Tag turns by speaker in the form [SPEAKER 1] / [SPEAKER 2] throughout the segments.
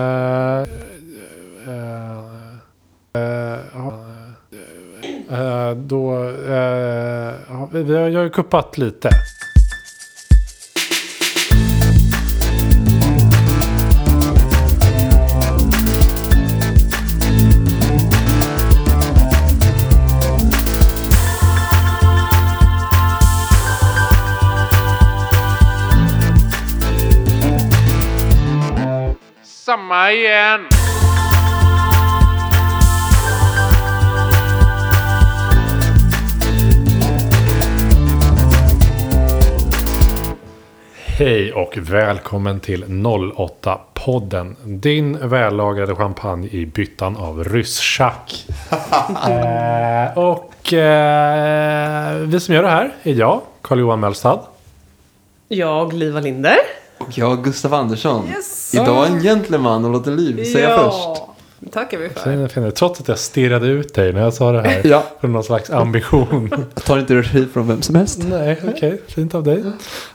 [SPEAKER 1] Eh, eh, eh, ja. Eh, Då, eh, ja, vi- vi har- jag har ju kuppat lite.
[SPEAKER 2] Samma igen!
[SPEAKER 1] Hej och välkommen till 08-podden. Din vällagrade champagne i byttan av ryschack. eh, och eh, vi som gör det här är jag, Carl-Johan Mellstad.
[SPEAKER 3] Jag, Liva Linder.
[SPEAKER 4] Och jag, Gustav Andersson.
[SPEAKER 3] Yes.
[SPEAKER 4] Idag en gentleman och låter Liv säga först.
[SPEAKER 3] först. tackar vi för.
[SPEAKER 1] Sen finner jag- Trots att jag stirrade ut dig när jag sa det här.
[SPEAKER 4] Ja.
[SPEAKER 1] Från någon slags ambition.
[SPEAKER 4] Jag tar inte regi från vem som helst.
[SPEAKER 1] Nej, okej. Fint av dig.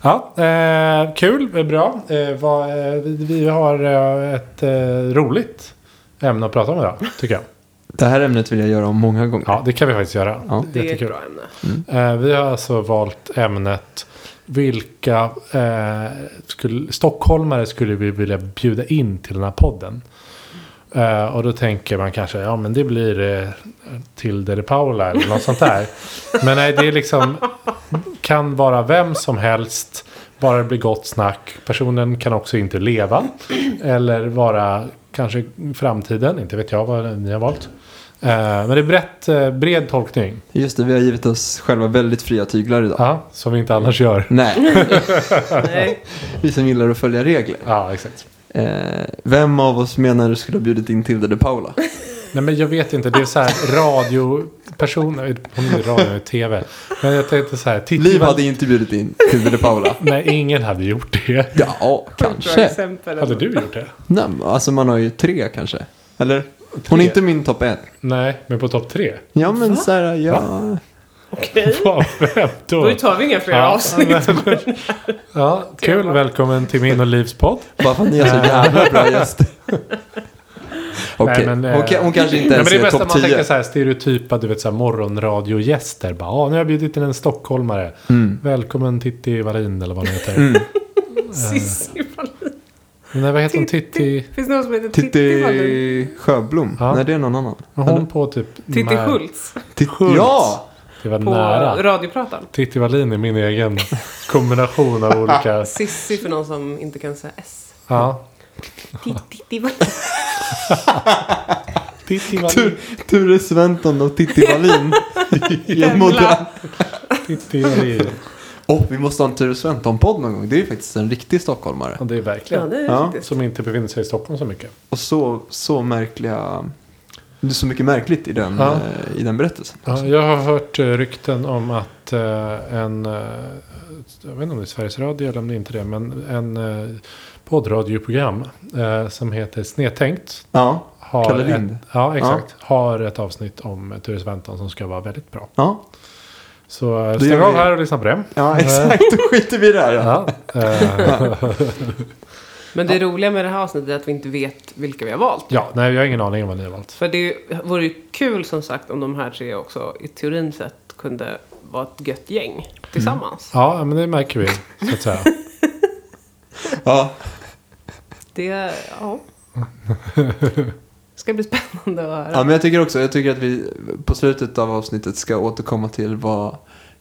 [SPEAKER 1] Ja, eh, kul, eh, bra. Eh, vad, eh, vi, vi har eh, ett eh, roligt ämne att prata om idag, tycker jag.
[SPEAKER 4] Det här ämnet vill jag göra om många gånger.
[SPEAKER 1] Ja, det kan vi faktiskt göra.
[SPEAKER 4] Ja.
[SPEAKER 3] Det är ett
[SPEAKER 1] Jättekul.
[SPEAKER 3] bra ämne.
[SPEAKER 1] Eh, vi har alltså valt ämnet vilka eh, skulle, stockholmare skulle vi vilja bjuda in till den här podden. Eh, och då tänker man kanske, ja men det blir eh, Tilde de Paula eller något sånt där. Men nej, det är liksom, kan vara vem som helst. Bara det blir gott snack. Personen kan också inte leva. Eller vara kanske framtiden, inte vet jag vad ni har valt. Eh, men det är brett, eh, bred tolkning.
[SPEAKER 4] Just det, vi har givit oss själva väldigt fria tyglar idag.
[SPEAKER 1] Ja, som vi inte annars gör.
[SPEAKER 4] Nej,
[SPEAKER 3] Nej.
[SPEAKER 4] vi som gillar att följa regler.
[SPEAKER 1] Ja, exakt.
[SPEAKER 4] Eh, vem av oss menar du skulle ha bjudit in Tilde de Paula?
[SPEAKER 1] Nej, men jag vet inte. Det är så här radiopersoner. Om det är radio och tv. Men jag tänkte så här. Titti
[SPEAKER 4] Liv
[SPEAKER 1] Wall-
[SPEAKER 4] hade inte bjudit in Tilde de Paula.
[SPEAKER 1] Nej, ingen hade gjort det.
[SPEAKER 4] Ja,
[SPEAKER 3] Bra
[SPEAKER 4] kanske.
[SPEAKER 3] exempel.
[SPEAKER 1] Hade du gjort det?
[SPEAKER 4] Nej, men alltså man har ju tre kanske. Eller? Hon är inte min topp en.
[SPEAKER 1] Nej, men på topp tre?
[SPEAKER 4] Ja, men så här, ja.
[SPEAKER 3] Okej.
[SPEAKER 1] Wow, vem då?
[SPEAKER 3] Då tar vi inga fler
[SPEAKER 1] Ja.
[SPEAKER 3] avsnitt.
[SPEAKER 1] Ja, kul. Välkommen till min och Livs podd.
[SPEAKER 4] Bara för att ni har så jävla bra gäster. Okej,
[SPEAKER 1] men, eh,
[SPEAKER 4] hon, ka- hon kanske inte
[SPEAKER 1] Nej, men
[SPEAKER 4] ens
[SPEAKER 1] det är
[SPEAKER 4] är
[SPEAKER 1] bäst att
[SPEAKER 4] topp
[SPEAKER 1] man tänker
[SPEAKER 4] 10.
[SPEAKER 1] så här stereotypa, du vet så här morgonradiogäster. Bara, ah, nu har jag bjudit in en stockholmare.
[SPEAKER 4] Mm.
[SPEAKER 1] Välkommen Titti Wallin eller vad hon heter.
[SPEAKER 3] Cissi Wallin.
[SPEAKER 1] Nej, vad heter hon? Titti?
[SPEAKER 3] Finns det någon som heter Titti Wallin?
[SPEAKER 4] Titti Sjöblom?
[SPEAKER 1] Ja.
[SPEAKER 4] Nej, det är någon annan.
[SPEAKER 1] Var Hon på typ...
[SPEAKER 3] Titti
[SPEAKER 1] Mär-
[SPEAKER 3] Schultz
[SPEAKER 4] Titti-
[SPEAKER 1] Schultz.
[SPEAKER 4] Ja!
[SPEAKER 1] Det var
[SPEAKER 3] på
[SPEAKER 1] nära.
[SPEAKER 3] Radiopratan.
[SPEAKER 1] Titti Wallin är min egen kombination av olika...
[SPEAKER 3] Cissi för någon som inte kan säga S.
[SPEAKER 1] Ja.
[SPEAKER 3] Titti Wallin.
[SPEAKER 1] Titti Wallin.
[SPEAKER 4] Tur- Ture Sventon och Titti Wallin.
[SPEAKER 3] Jävlar.
[SPEAKER 4] Modern.
[SPEAKER 1] Titti Wallin.
[SPEAKER 4] Åh, vi måste ha en Ture Sventon-podd någon gång. Det är ju faktiskt en riktig stockholmare.
[SPEAKER 1] Ja, det är
[SPEAKER 3] Ja,
[SPEAKER 1] verkligen.
[SPEAKER 3] det är
[SPEAKER 4] Ja.
[SPEAKER 3] riktigt.
[SPEAKER 1] Som inte befinner sig i Stockholm så mycket.
[SPEAKER 4] Och så, så märkliga... Det är så mycket märkligt i den,
[SPEAKER 1] Ja.
[SPEAKER 4] eh, i den berättelsen.
[SPEAKER 1] Ja, jag har hört eh, rykten om att eh, en... eh, Jag vet inte om det är Sveriges Radio eller om det inte är det. Men en eh, poddradioprogram eh, som heter Snedtänkt.
[SPEAKER 4] Ja.
[SPEAKER 1] Har
[SPEAKER 4] Kalle Lind.
[SPEAKER 1] Ett, ja, exakt. Har ett avsnitt om eh, Ture Sventon som ska vara väldigt bra.
[SPEAKER 4] Ja,
[SPEAKER 1] Så eh,
[SPEAKER 4] Då gör
[SPEAKER 1] stäng av
[SPEAKER 4] vi-
[SPEAKER 1] här och lyssna på det. Eh,
[SPEAKER 4] ja exakt. Då skiter vi i det här. Ja.
[SPEAKER 1] Ja, eh,
[SPEAKER 3] Men det roliga med det här avsnittet är att vi inte vet vilka vi har valt.
[SPEAKER 1] ja, nej, jag har ingen aning om vad ni har valt.
[SPEAKER 3] För det vore ju kul som sagt om de här tre också i teorin sett kunde vara ett gött gäng tillsammans.
[SPEAKER 1] Ja, men det märker vi. Så att säga.
[SPEAKER 4] Ja.
[SPEAKER 3] Det, ja. Ska bli spännande att höra.
[SPEAKER 4] Ja, men jag tycker också, jag tycker att vi på slutet av avsnittet ska återkomma till vad,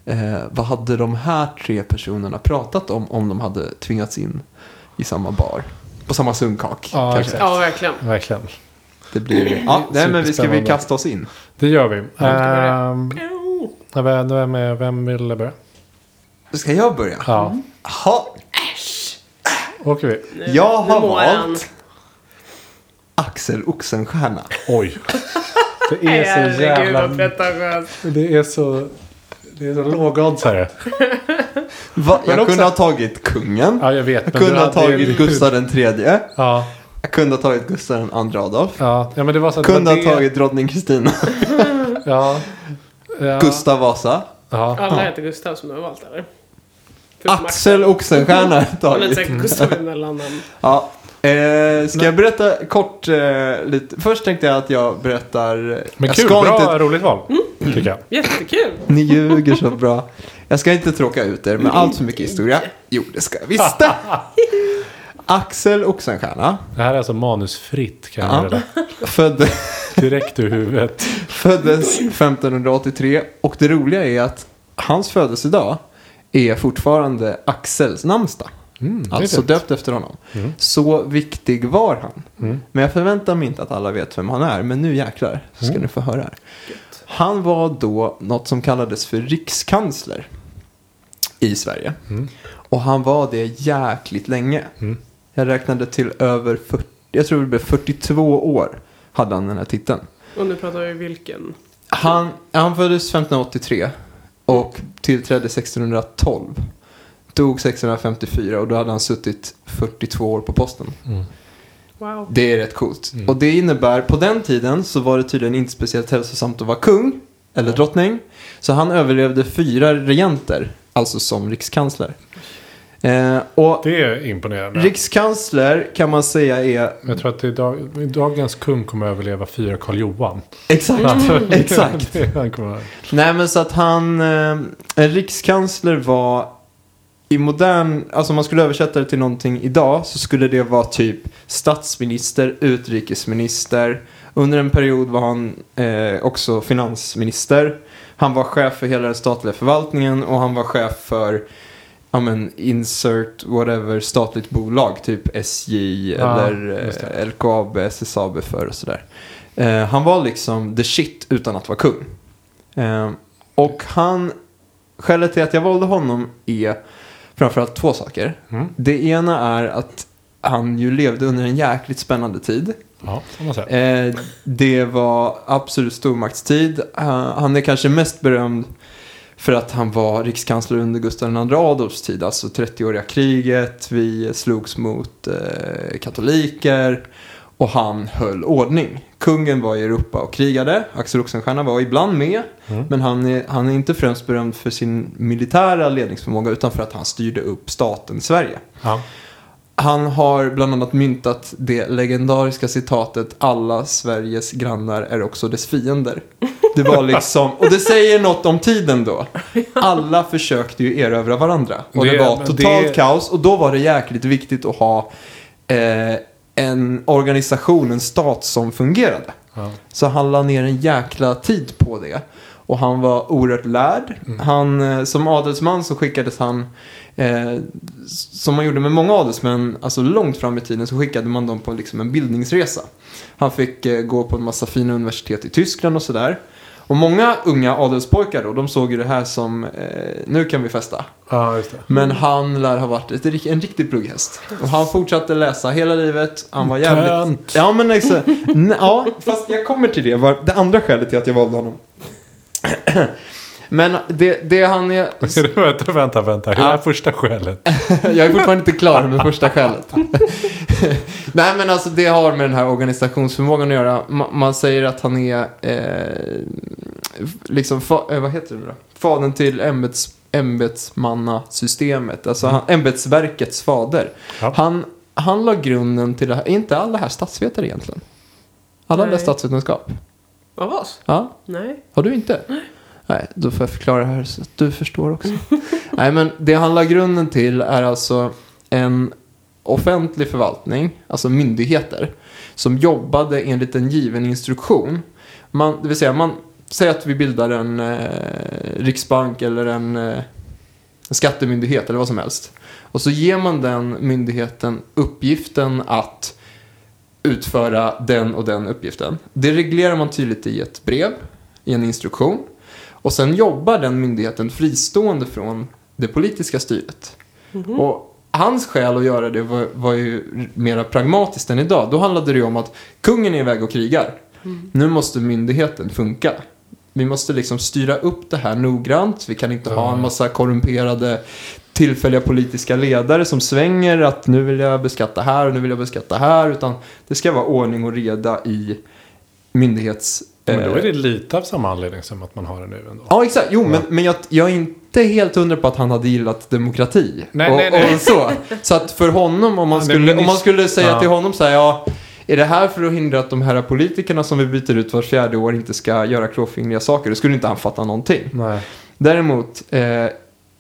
[SPEAKER 4] eh, vad hade de här tre personerna pratat om om de hade tvingats in i samma bar? På samma sunkak
[SPEAKER 1] Ja,
[SPEAKER 4] kanske.
[SPEAKER 1] exakt.
[SPEAKER 3] Ja, verkligen.
[SPEAKER 1] Verkligen.
[SPEAKER 4] Det blir, ja, nej, men vi ska vi
[SPEAKER 1] Superspännande.
[SPEAKER 4] kasta oss in.
[SPEAKER 1] Det gör vi.
[SPEAKER 3] börja.
[SPEAKER 1] Ehm, ja, vem, vem, är- vem vill börja?
[SPEAKER 4] Ska jag börja?
[SPEAKER 1] Ja,
[SPEAKER 4] Ha,
[SPEAKER 1] åker vi.
[SPEAKER 4] jag har
[SPEAKER 3] nu mår han.
[SPEAKER 4] valt Axel Oxenstierna.
[SPEAKER 1] Oj. Det är så jävla...
[SPEAKER 3] pretentiöst.
[SPEAKER 1] Det är så... Det är så låg odds här.
[SPEAKER 4] Va, jag
[SPEAKER 1] också-
[SPEAKER 4] kunde ha tagit kungen.
[SPEAKER 1] Ja, jag vet.
[SPEAKER 4] Jag
[SPEAKER 1] men du
[SPEAKER 4] kunde ha
[SPEAKER 1] hade ju-
[SPEAKER 4] tagit Gustav den tredje.
[SPEAKER 1] Ja,
[SPEAKER 4] Jag kunde ha tagit Gustav den andra Adolf.
[SPEAKER 1] ja. ja, men det var så att det
[SPEAKER 4] Kunde
[SPEAKER 1] var
[SPEAKER 4] ha
[SPEAKER 1] det-
[SPEAKER 4] tagit drottning Kristina.
[SPEAKER 1] Ja. ja.
[SPEAKER 4] Gustav Vasa.
[SPEAKER 1] Ja.
[SPEAKER 3] Alla heter Gustav som du har valt, eller? Förutom
[SPEAKER 4] Axel Oxenstierna har jag
[SPEAKER 3] Men
[SPEAKER 4] tagit.
[SPEAKER 3] säkert Gustav är mellannamn.
[SPEAKER 4] Ja, Eh, ska jag berätta kort eh, lite? Först tänkte jag att jag berättar...
[SPEAKER 1] Men
[SPEAKER 4] jag
[SPEAKER 1] kul,
[SPEAKER 4] ska
[SPEAKER 1] bra,
[SPEAKER 4] inte- Mm.
[SPEAKER 1] roligt val. Tycker jag.
[SPEAKER 3] Jättekul!
[SPEAKER 4] Ni ljuger så bra. Jag ska inte tråka ut er med allt för mycket historia. Jo, det ska jag visst det. Axel Oxenstierna
[SPEAKER 1] Det här är alltså manusfritt kan jag
[SPEAKER 4] Ja.
[SPEAKER 1] meddela.
[SPEAKER 4] född,
[SPEAKER 1] Direkt ur huvudet.
[SPEAKER 4] föddes 1583 och det roliga är att hans födelsedag är fortfarande Axels namnsdag.
[SPEAKER 1] Mm, det är
[SPEAKER 4] Alltså
[SPEAKER 1] fint. Mm.
[SPEAKER 4] döpt efter honom. Så viktig var han. Men jag förväntar mig inte att alla vet vem han är. Men nu jäklar så
[SPEAKER 1] Mm.
[SPEAKER 4] ska ni få höra här. Han var då något som kallades för rikskansler i Sverige.
[SPEAKER 1] Mm.
[SPEAKER 4] Och han var det jäkligt länge. Jag räknade till över 40, jag tror det blev 42 år hade han den här titeln.
[SPEAKER 3] Och nu pratar vi vilken.
[SPEAKER 4] Han, han föddes 1583 och tillträdde 1612. Dog 1654 och då hade han suttit 42 år på posten.
[SPEAKER 3] Wow.
[SPEAKER 4] Det är rätt coolt.
[SPEAKER 1] Mm.
[SPEAKER 4] Och det innebär, på den tiden så var det tydligen inte speciellt hälsosamt att vara kung eller drottning. Så han överlevde fyra regenter, alltså som rikskansler. Eh, och
[SPEAKER 1] Det är imponerande.
[SPEAKER 4] rikskansler kan man säga är
[SPEAKER 1] Men Jag tror att det är dag, dagens kung kommer överleva fyra Karl Johan.
[SPEAKER 4] exakt, Mm.
[SPEAKER 1] Mm.
[SPEAKER 4] exakt.
[SPEAKER 1] Han kommer,
[SPEAKER 4] Nej men så att han, eh, en rikskansler var i modern, alltså om man skulle översätta det till någonting idag så skulle det vara typ statsminister, utrikesminister. Under en period var han eh, också finansminister. Han var chef för hela den statliga förvaltningen och han var chef för Ja men insert whatever statligt bolag, typ SJ
[SPEAKER 1] Ja,
[SPEAKER 4] eller
[SPEAKER 1] just det.
[SPEAKER 4] eh, LKAB, SSAB för och sådär. Eh, han var liksom the shit utan att vara kung. Eh, och han, skälet till att jag valde honom är framförallt två saker.
[SPEAKER 1] Mm.
[SPEAKER 4] Det ena är att han ju levde under en jäkligt spännande tid.
[SPEAKER 1] ja, får man säga.
[SPEAKER 4] Eh, det var absolut stormaktstid. Eh, han är kanske mest berömd för att han var rikskansler under Gustav II Adolfs tid, alltså 30-åriga kriget. Vi slogs mot eh, katoliker och han höll ordning. Kungen var i Europa och krigade. Axel Oxenstierna var ibland med, men han är, han är inte främst berömd för sin militära ledningsförmåga utan för att han styrde upp staten Sverige.
[SPEAKER 1] Ja.
[SPEAKER 4] Han har bland annat myntat det legendariska citatet alla Sveriges grannar är också dess fiender. Det var liksom, och det säger något om tiden då. Alla försökte ju erövra varandra. Och det,
[SPEAKER 1] Det-
[SPEAKER 4] var
[SPEAKER 1] men
[SPEAKER 4] totalt
[SPEAKER 1] det-
[SPEAKER 4] kaos och då var det jäkligt viktigt att ha eh, en organisation, en stat som fungerade.
[SPEAKER 1] Ja.
[SPEAKER 4] Så han la ner en jäkla tid på det. Och han var oerhört lärd. Han, eh, som adelsman så skickades han, eh, s- som man gjorde med många adelsmän, alltså långt fram i tiden så skickade man dem på liksom en bildningsresa. Han fick eh, gå på en massa fina universitet i Tyskland och sådär. Och många unga adelspojkar då, de såg ju det här som, eh, nu kan vi festa.
[SPEAKER 1] ja, just det.
[SPEAKER 4] Men han lär ha varit ett, rik- en riktig plugghäst. Och han fortsatte läsa hela livet. Han var jävligt...
[SPEAKER 1] Tönt.
[SPEAKER 4] Ja, men alltså, n- ja, fast jag kommer till det. Var det andra skälet till att jag valde honom. Men det, det han är...
[SPEAKER 1] vänta, vänta, vänta. Hur är
[SPEAKER 4] Ja.
[SPEAKER 1] första skälet?
[SPEAKER 4] Jag är fortfarande inte klar med första skälet. Nej, men alltså det har med den här organisationsförmågan att göra. Ma- Man säger att han är... Eh, liksom, fa- eh, vad heter det då? Fadern till ämbets, ämbetsmannasystemet. Alltså han, ämbetsverkets fader.
[SPEAKER 1] Ja.
[SPEAKER 4] Han, han la grunden till det här. Är inte alla här statsvetare egentligen? Alla
[SPEAKER 3] Nej.
[SPEAKER 4] läst statsvetenskap?
[SPEAKER 3] Av oss?
[SPEAKER 4] Ja,
[SPEAKER 3] Nej.
[SPEAKER 4] har du inte? Nej, då får jag förklara här så att du förstår också. Nej, men det han la grunden till är alltså en offentlig förvaltning, alltså myndigheter, som jobbade enligt en given instruktion. Man, det vill säga, man säger att vi bildar en eh, riksbank eller en, eh, en skattemyndighet eller vad som helst. Och så ger man den myndigheten uppgiften att utföra den och den uppgiften. Det reglerar man tydligt i ett brev, i en instruktion. Och sen jobbar den myndigheten fristående från det politiska styret. Och hans skäl att göra det var, var ju mera pragmatiskt än idag. Då handlade det ju om att kungen är iväg och krigar. Nu måste myndigheten funka. Vi måste liksom styra upp det här noggrant. Vi kan inte ha en massa korrumperade tillfälliga politiska ledare som svänger att nu vill jag beskatta här och nu vill jag beskatta här. Utan det ska vara ordning och reda i myndighets...
[SPEAKER 1] Men då
[SPEAKER 4] eh,
[SPEAKER 1] är det lite av samma anledning som att man har det nu ändå.
[SPEAKER 4] Ja, exakt. Jo, men, men jag, jag är inte...
[SPEAKER 5] inte helt hundra på att han hade gillat demokrati.
[SPEAKER 1] Nej,
[SPEAKER 5] och,
[SPEAKER 1] nej, nej.
[SPEAKER 5] Och så. så att för honom, om man
[SPEAKER 1] Han är
[SPEAKER 5] skulle, om man
[SPEAKER 1] minist-
[SPEAKER 5] skulle säga
[SPEAKER 1] Ja.
[SPEAKER 5] till honom så här, ja, är det här för att hindra att de här politikerna som vi byter ut var fjärde år inte ska göra klåfingriga saker? Då skulle inte han fatta någonting.
[SPEAKER 1] Nej.
[SPEAKER 5] Däremot eh,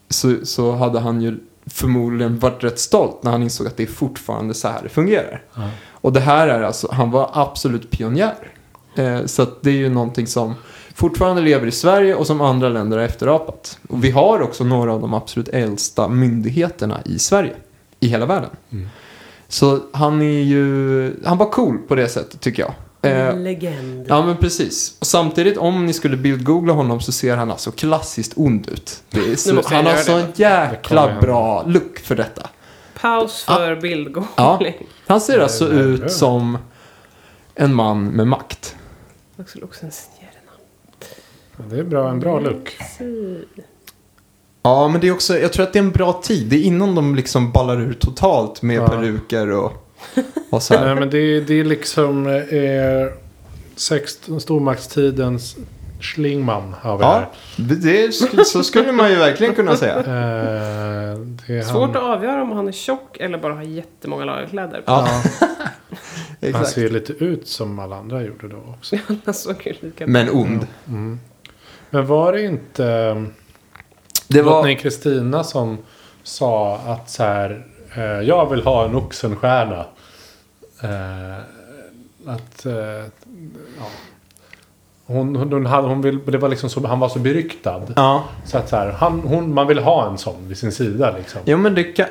[SPEAKER 5] så, så hade han ju förmodligen varit rätt stolt när han insåg att det är fortfarande så här det fungerar.
[SPEAKER 1] Ja.
[SPEAKER 5] Och det här är alltså, han var absolut pionjär. Eh, så att det är ju någonting som fortfarande lever i Sverige och som andra länder har efterapat. Och vi har också några av de absolut äldsta myndigheterna i Sverige, i hela världen.
[SPEAKER 1] Mm.
[SPEAKER 5] Så han är ju, han var cool på det sättet tycker jag. Eh,
[SPEAKER 3] En legend.
[SPEAKER 5] Ja men precis. Och samtidigt om ni skulle bildgoogla honom så ser han alltså klassiskt ond ut. Det är så,
[SPEAKER 3] måste jag
[SPEAKER 5] han har
[SPEAKER 3] göra
[SPEAKER 5] sån
[SPEAKER 1] Det
[SPEAKER 5] jäkla
[SPEAKER 1] kommer
[SPEAKER 5] bra look för detta.
[SPEAKER 3] Paus för bildgoogling.
[SPEAKER 5] Ja. Han ser
[SPEAKER 1] Det är
[SPEAKER 5] alltså
[SPEAKER 1] det.
[SPEAKER 5] ut som en man med makt.
[SPEAKER 3] Axel Oxenstierna.
[SPEAKER 1] Det är bra, en bra look.
[SPEAKER 5] Ja men det är också, jag tror att det är en bra tid. Det är innan de liksom ballar ur totalt med
[SPEAKER 1] Ja.
[SPEAKER 5] peruker och, och så
[SPEAKER 1] Nej,
[SPEAKER 5] här.
[SPEAKER 1] men det, är- det är liksom eh, 16, stormaktstidens Schlingman har vi
[SPEAKER 4] Ja, det, sk- så skulle man ju verkligen kunna säga.
[SPEAKER 1] här. Eh, det är
[SPEAKER 3] Svårt
[SPEAKER 1] han,
[SPEAKER 3] att avgöra om han är tjock eller bara har jättemånga lagerkläder.
[SPEAKER 5] Ja,
[SPEAKER 1] han
[SPEAKER 5] exakt.
[SPEAKER 1] ser lite ut som alla andra gjorde då också.
[SPEAKER 3] Han såg ju lika
[SPEAKER 5] Men
[SPEAKER 1] Mm.
[SPEAKER 5] ond.
[SPEAKER 1] Men var det inte eh,
[SPEAKER 5] Det
[SPEAKER 1] drottning
[SPEAKER 5] var,
[SPEAKER 1] Kristina som sa att så här, eh, jag vill ha en oxenstjärna. Eh, att, eh, ja. Hon, hon, hon, hade- hon vill, det var liksom så, han var så beryktad.
[SPEAKER 5] ja.
[SPEAKER 1] Så att så här, han, hon, man vill ha en sån vid sin sida liksom.
[SPEAKER 4] Jo men det kan...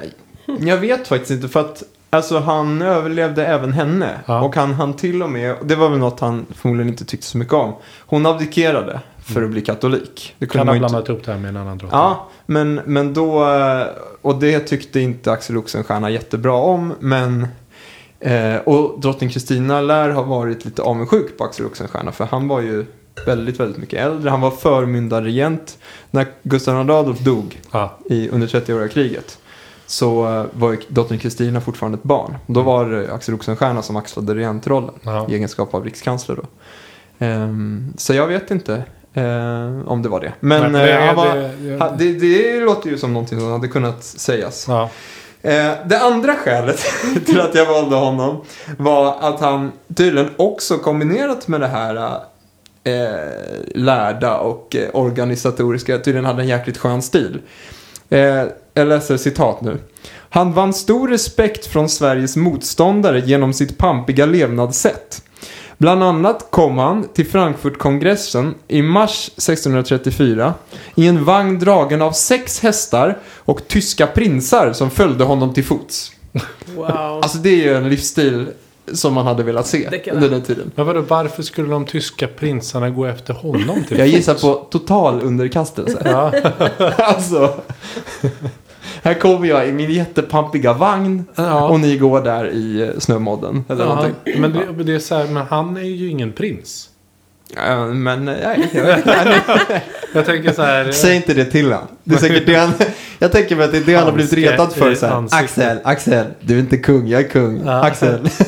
[SPEAKER 4] Jag vet faktiskt inte för att alltså, han överlevde även henne.
[SPEAKER 1] Ja.
[SPEAKER 4] Och han, han till och med, det var väl något han förmodligen inte tyckte så mycket om. Hon abdikerade för att bli katolik. Det kunde
[SPEAKER 1] Mm. Kan
[SPEAKER 4] man
[SPEAKER 1] ha
[SPEAKER 4] ju inte...
[SPEAKER 1] blandat upp det här med en annan drottning.
[SPEAKER 4] Ja, men, men då, eh, och det tyckte inte Axel Oxenstierna jättebra om. Men, eh, och drottning Kristina lär ha varit lite avundsjuk på Axel Oxenstierna. För han var ju väldigt, väldigt mycket äldre. Han var förmyndarregent när Gustav Adolf dog
[SPEAKER 1] Ja.
[SPEAKER 4] i, under 30-åriga kriget så eh, var ju dottern Kristina fortfarande ett barn. Då var det Axel Oxenstierna som axlade regentrollen
[SPEAKER 1] Mm. Ja.
[SPEAKER 4] i egenskap av rikskansler. Då. Ehm, så jag vet inte eh, om det var det. Men
[SPEAKER 1] Nej, det-
[SPEAKER 4] eh, han var,
[SPEAKER 1] det- det-
[SPEAKER 4] ha- det, det låter ju som någonting som hade kunnat sägas.
[SPEAKER 1] Ja.
[SPEAKER 4] Eh, det andra skälet till att jag valde honom var att han tydligen också kombinerat med det här eh, lärda och eh, organisatoriska tydligen hade en jäkligt skön stil. Eh, jag läser citat nu. Han vann stor respekt från Sveriges motståndare genom sitt pampiga levnadssätt. Bland annat kom han till Frankfurtkongressen i mars 1634 i en vagn dragen av sex hästar och tyska prinsar som följde honom till fots.
[SPEAKER 3] Wow.
[SPEAKER 4] Alltså det är ju en livsstil som man hade velat se
[SPEAKER 3] Det kan
[SPEAKER 4] under
[SPEAKER 3] jag.
[SPEAKER 4] den tiden.
[SPEAKER 1] Men vadå, varför skulle de tyska prinsarna gå efter honom? Till
[SPEAKER 4] Jag gissar på total underkastelse.
[SPEAKER 1] Ja.
[SPEAKER 4] alltså. Här kommer jag i min jättepampiga vagn och ni går där i eh, snömodden. Eller
[SPEAKER 1] Ja,
[SPEAKER 4] någonting.
[SPEAKER 1] men, det, men det är så här, men han är ju ingen prins.
[SPEAKER 4] Eh, Men eh, nej, jag
[SPEAKER 1] Jag tänker så här.
[SPEAKER 4] Säg inte det till han. Det är säkert det han jag tänker mig att det är det han har blivit
[SPEAKER 1] Handske
[SPEAKER 4] retad för.
[SPEAKER 1] i
[SPEAKER 4] Så här,
[SPEAKER 1] ansiktet.
[SPEAKER 4] Axel, Axel, du är inte kung, jag är kung.
[SPEAKER 1] Ja.
[SPEAKER 4] Axel.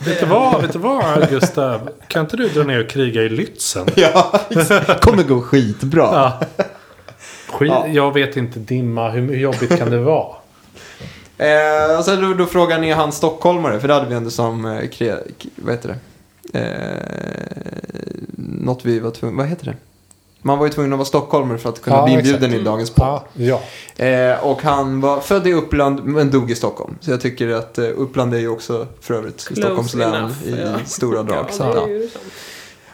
[SPEAKER 1] Vet du vad, vet du vad Gustav? Kan inte du dra ner och kriga i Lützen?
[SPEAKER 4] Ja, exakt. kommer gå skitbra.
[SPEAKER 1] Ja. Skit,
[SPEAKER 4] Ja.
[SPEAKER 1] Jag vet inte dimma, hur, hur jobbigt kan det vara?
[SPEAKER 4] Eh, och sen då, då frågan är han stockholmare? För det hade vi ändå som, eh, kre, k- vad heter det? Eh, något vi var tvungna, vad heter det? Man var ju tvungen att vara stockholmare för att kunna
[SPEAKER 1] Ja,
[SPEAKER 4] bli inbjuden
[SPEAKER 1] exakt.
[SPEAKER 4] i dagens podd.
[SPEAKER 1] Ja, ja.
[SPEAKER 4] Eh, och han var född i Uppland men dog i Stockholm. Så jag tycker att eh, Uppland är ju också för övrigt Stockholms län
[SPEAKER 3] enough,
[SPEAKER 4] i,
[SPEAKER 3] ja.
[SPEAKER 4] i stora drag. så,
[SPEAKER 3] Ja,
[SPEAKER 4] ja.
[SPEAKER 3] det är ju sant.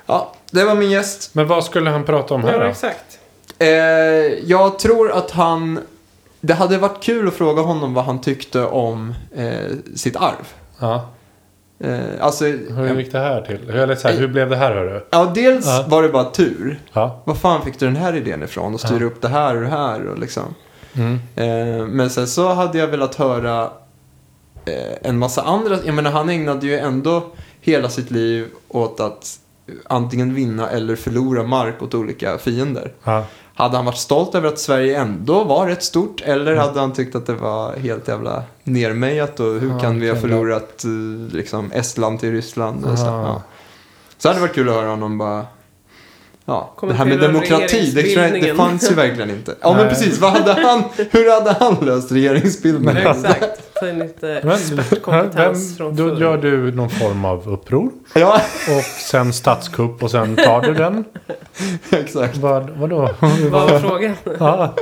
[SPEAKER 4] Ja, det var min gäst.
[SPEAKER 1] Men vad skulle han prata om här
[SPEAKER 3] Ja,
[SPEAKER 1] då?
[SPEAKER 3] exakt.
[SPEAKER 4] Eh, jag tror att han... Det hade varit kul att fråga honom vad han tyckte om eh, sitt arv.
[SPEAKER 1] Ja.
[SPEAKER 4] Eh, alltså,
[SPEAKER 1] Hur gick det här till? Hur- Eller så här, hur blev det här hörru?
[SPEAKER 4] ja, dels
[SPEAKER 1] Ja.
[SPEAKER 4] var det bara tur.
[SPEAKER 1] Ja.
[SPEAKER 4] Vad fan fick du den här idén ifrån? Och styra upp det här och det här och liksom.
[SPEAKER 1] Mm.
[SPEAKER 4] Eh, men sen så hade jag velat höra eh, en massa andra. Jag menar han ägnade ju ändå hela sitt liv åt att antingen vinna eller förlora mark åt olika fiender.
[SPEAKER 1] Ja.
[SPEAKER 4] Hade han varit stolt över att Sverige ändå var rätt stort eller hade han tyckt att det var helt jävla nermejat och hur
[SPEAKER 1] Ja,
[SPEAKER 4] kan vi ha
[SPEAKER 1] okej,
[SPEAKER 4] förlorat eh, liksom Estland till Ryssland? Och så,
[SPEAKER 1] Ah.
[SPEAKER 4] ja. så hade det varit kul att höra honom bara Ja, det här
[SPEAKER 3] Kommentera
[SPEAKER 4] med demokrati, det, tror jag- det
[SPEAKER 3] regeringsbildningen.
[SPEAKER 4] fanns ju verkligen inte. Ja, men
[SPEAKER 1] Nej.
[SPEAKER 4] precis. Vad hade han, hur hade han löst regeringsbildningen?
[SPEAKER 3] Exakt. Ta in lite expertkompetens från
[SPEAKER 1] då
[SPEAKER 3] förr.
[SPEAKER 1] gör du någon form av uppror.
[SPEAKER 4] Ja,
[SPEAKER 1] Och sen statskupp och sen tar du den.
[SPEAKER 4] exakt.
[SPEAKER 1] Vad, vadå?
[SPEAKER 3] Vad var frågan?
[SPEAKER 1] Ja,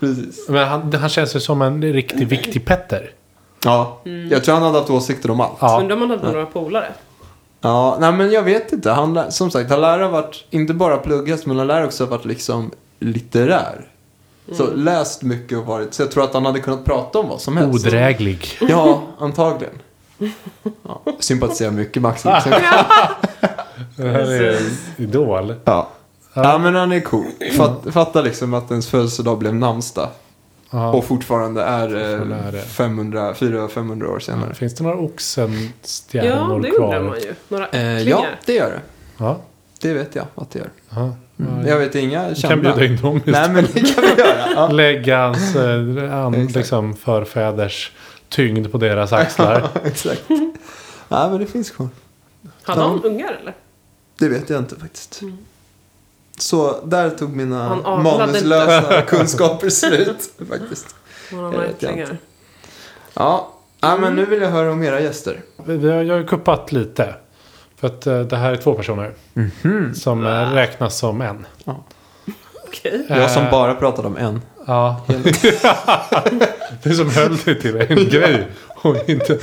[SPEAKER 4] Precis.
[SPEAKER 1] men han, han känns ju som en riktigt viktig Petter.
[SPEAKER 4] Ja, jag tror han hade haft åsikter om allt.
[SPEAKER 1] Ja.
[SPEAKER 3] Undrar om han hade några polare?
[SPEAKER 4] Ja, nej men jag vet inte. Han, lär- som sagt, han lär ha varit, inte bara pluggat, men han lär också ha varit liksom litterär. Så läst mycket och varit, så jag tror att han hade kunnat prata om vad som helst.
[SPEAKER 1] Odräglig.
[SPEAKER 4] Ja, antagligen. Ja, sympatiserar mycket med Axel Oxenstierna.
[SPEAKER 1] Det här är idol.
[SPEAKER 4] Ja. Ja men han är cool. Fat, fatta liksom att ens födelsedag blev namnsdag.
[SPEAKER 1] Ja.
[SPEAKER 4] Och fortfarande är
[SPEAKER 1] Fortfarande är det.
[SPEAKER 4] eh, 500, 400-500 år senare.
[SPEAKER 1] Finns det några
[SPEAKER 3] Ja,
[SPEAKER 1] oxenstjärnor
[SPEAKER 3] det
[SPEAKER 1] kvar?
[SPEAKER 3] undrar man ju. Några
[SPEAKER 4] Eh,
[SPEAKER 3] ättlingar?
[SPEAKER 4] ja, det gör det.
[SPEAKER 1] Ja.
[SPEAKER 4] Det vet jag att det gör.
[SPEAKER 1] ja.
[SPEAKER 4] Jag vet inga
[SPEAKER 1] Vi kan
[SPEAKER 4] kända.
[SPEAKER 1] bjuda in dem just.
[SPEAKER 4] Nej men det kan vi göra. Ja.
[SPEAKER 1] Lägga hans eh, an,
[SPEAKER 4] Exakt.
[SPEAKER 1] liksom, förfäders tyngd på deras axlar.
[SPEAKER 4] Exakt. Nej men det finns kvar.
[SPEAKER 3] Hade han ungar eller?
[SPEAKER 4] Det vet jag inte faktiskt. Så där tog mina
[SPEAKER 3] Mm. Han avlade
[SPEAKER 4] manuslösa kunskaper slut faktiskt. Det
[SPEAKER 3] Några
[SPEAKER 4] vet Eh, jag
[SPEAKER 3] ättlingar?
[SPEAKER 4] Ja. ja,
[SPEAKER 3] Mm.
[SPEAKER 4] men nu vill jag höra om era gäster.
[SPEAKER 1] Vi vi har, jag har ju kuppat lite. För att eh, det här är två personer. Som eh, räknas som en.
[SPEAKER 3] Okej.
[SPEAKER 4] Jag som
[SPEAKER 1] Eh,
[SPEAKER 4] bara pratade om en.
[SPEAKER 1] Ja. det som höll dig till en grej. Och, inte.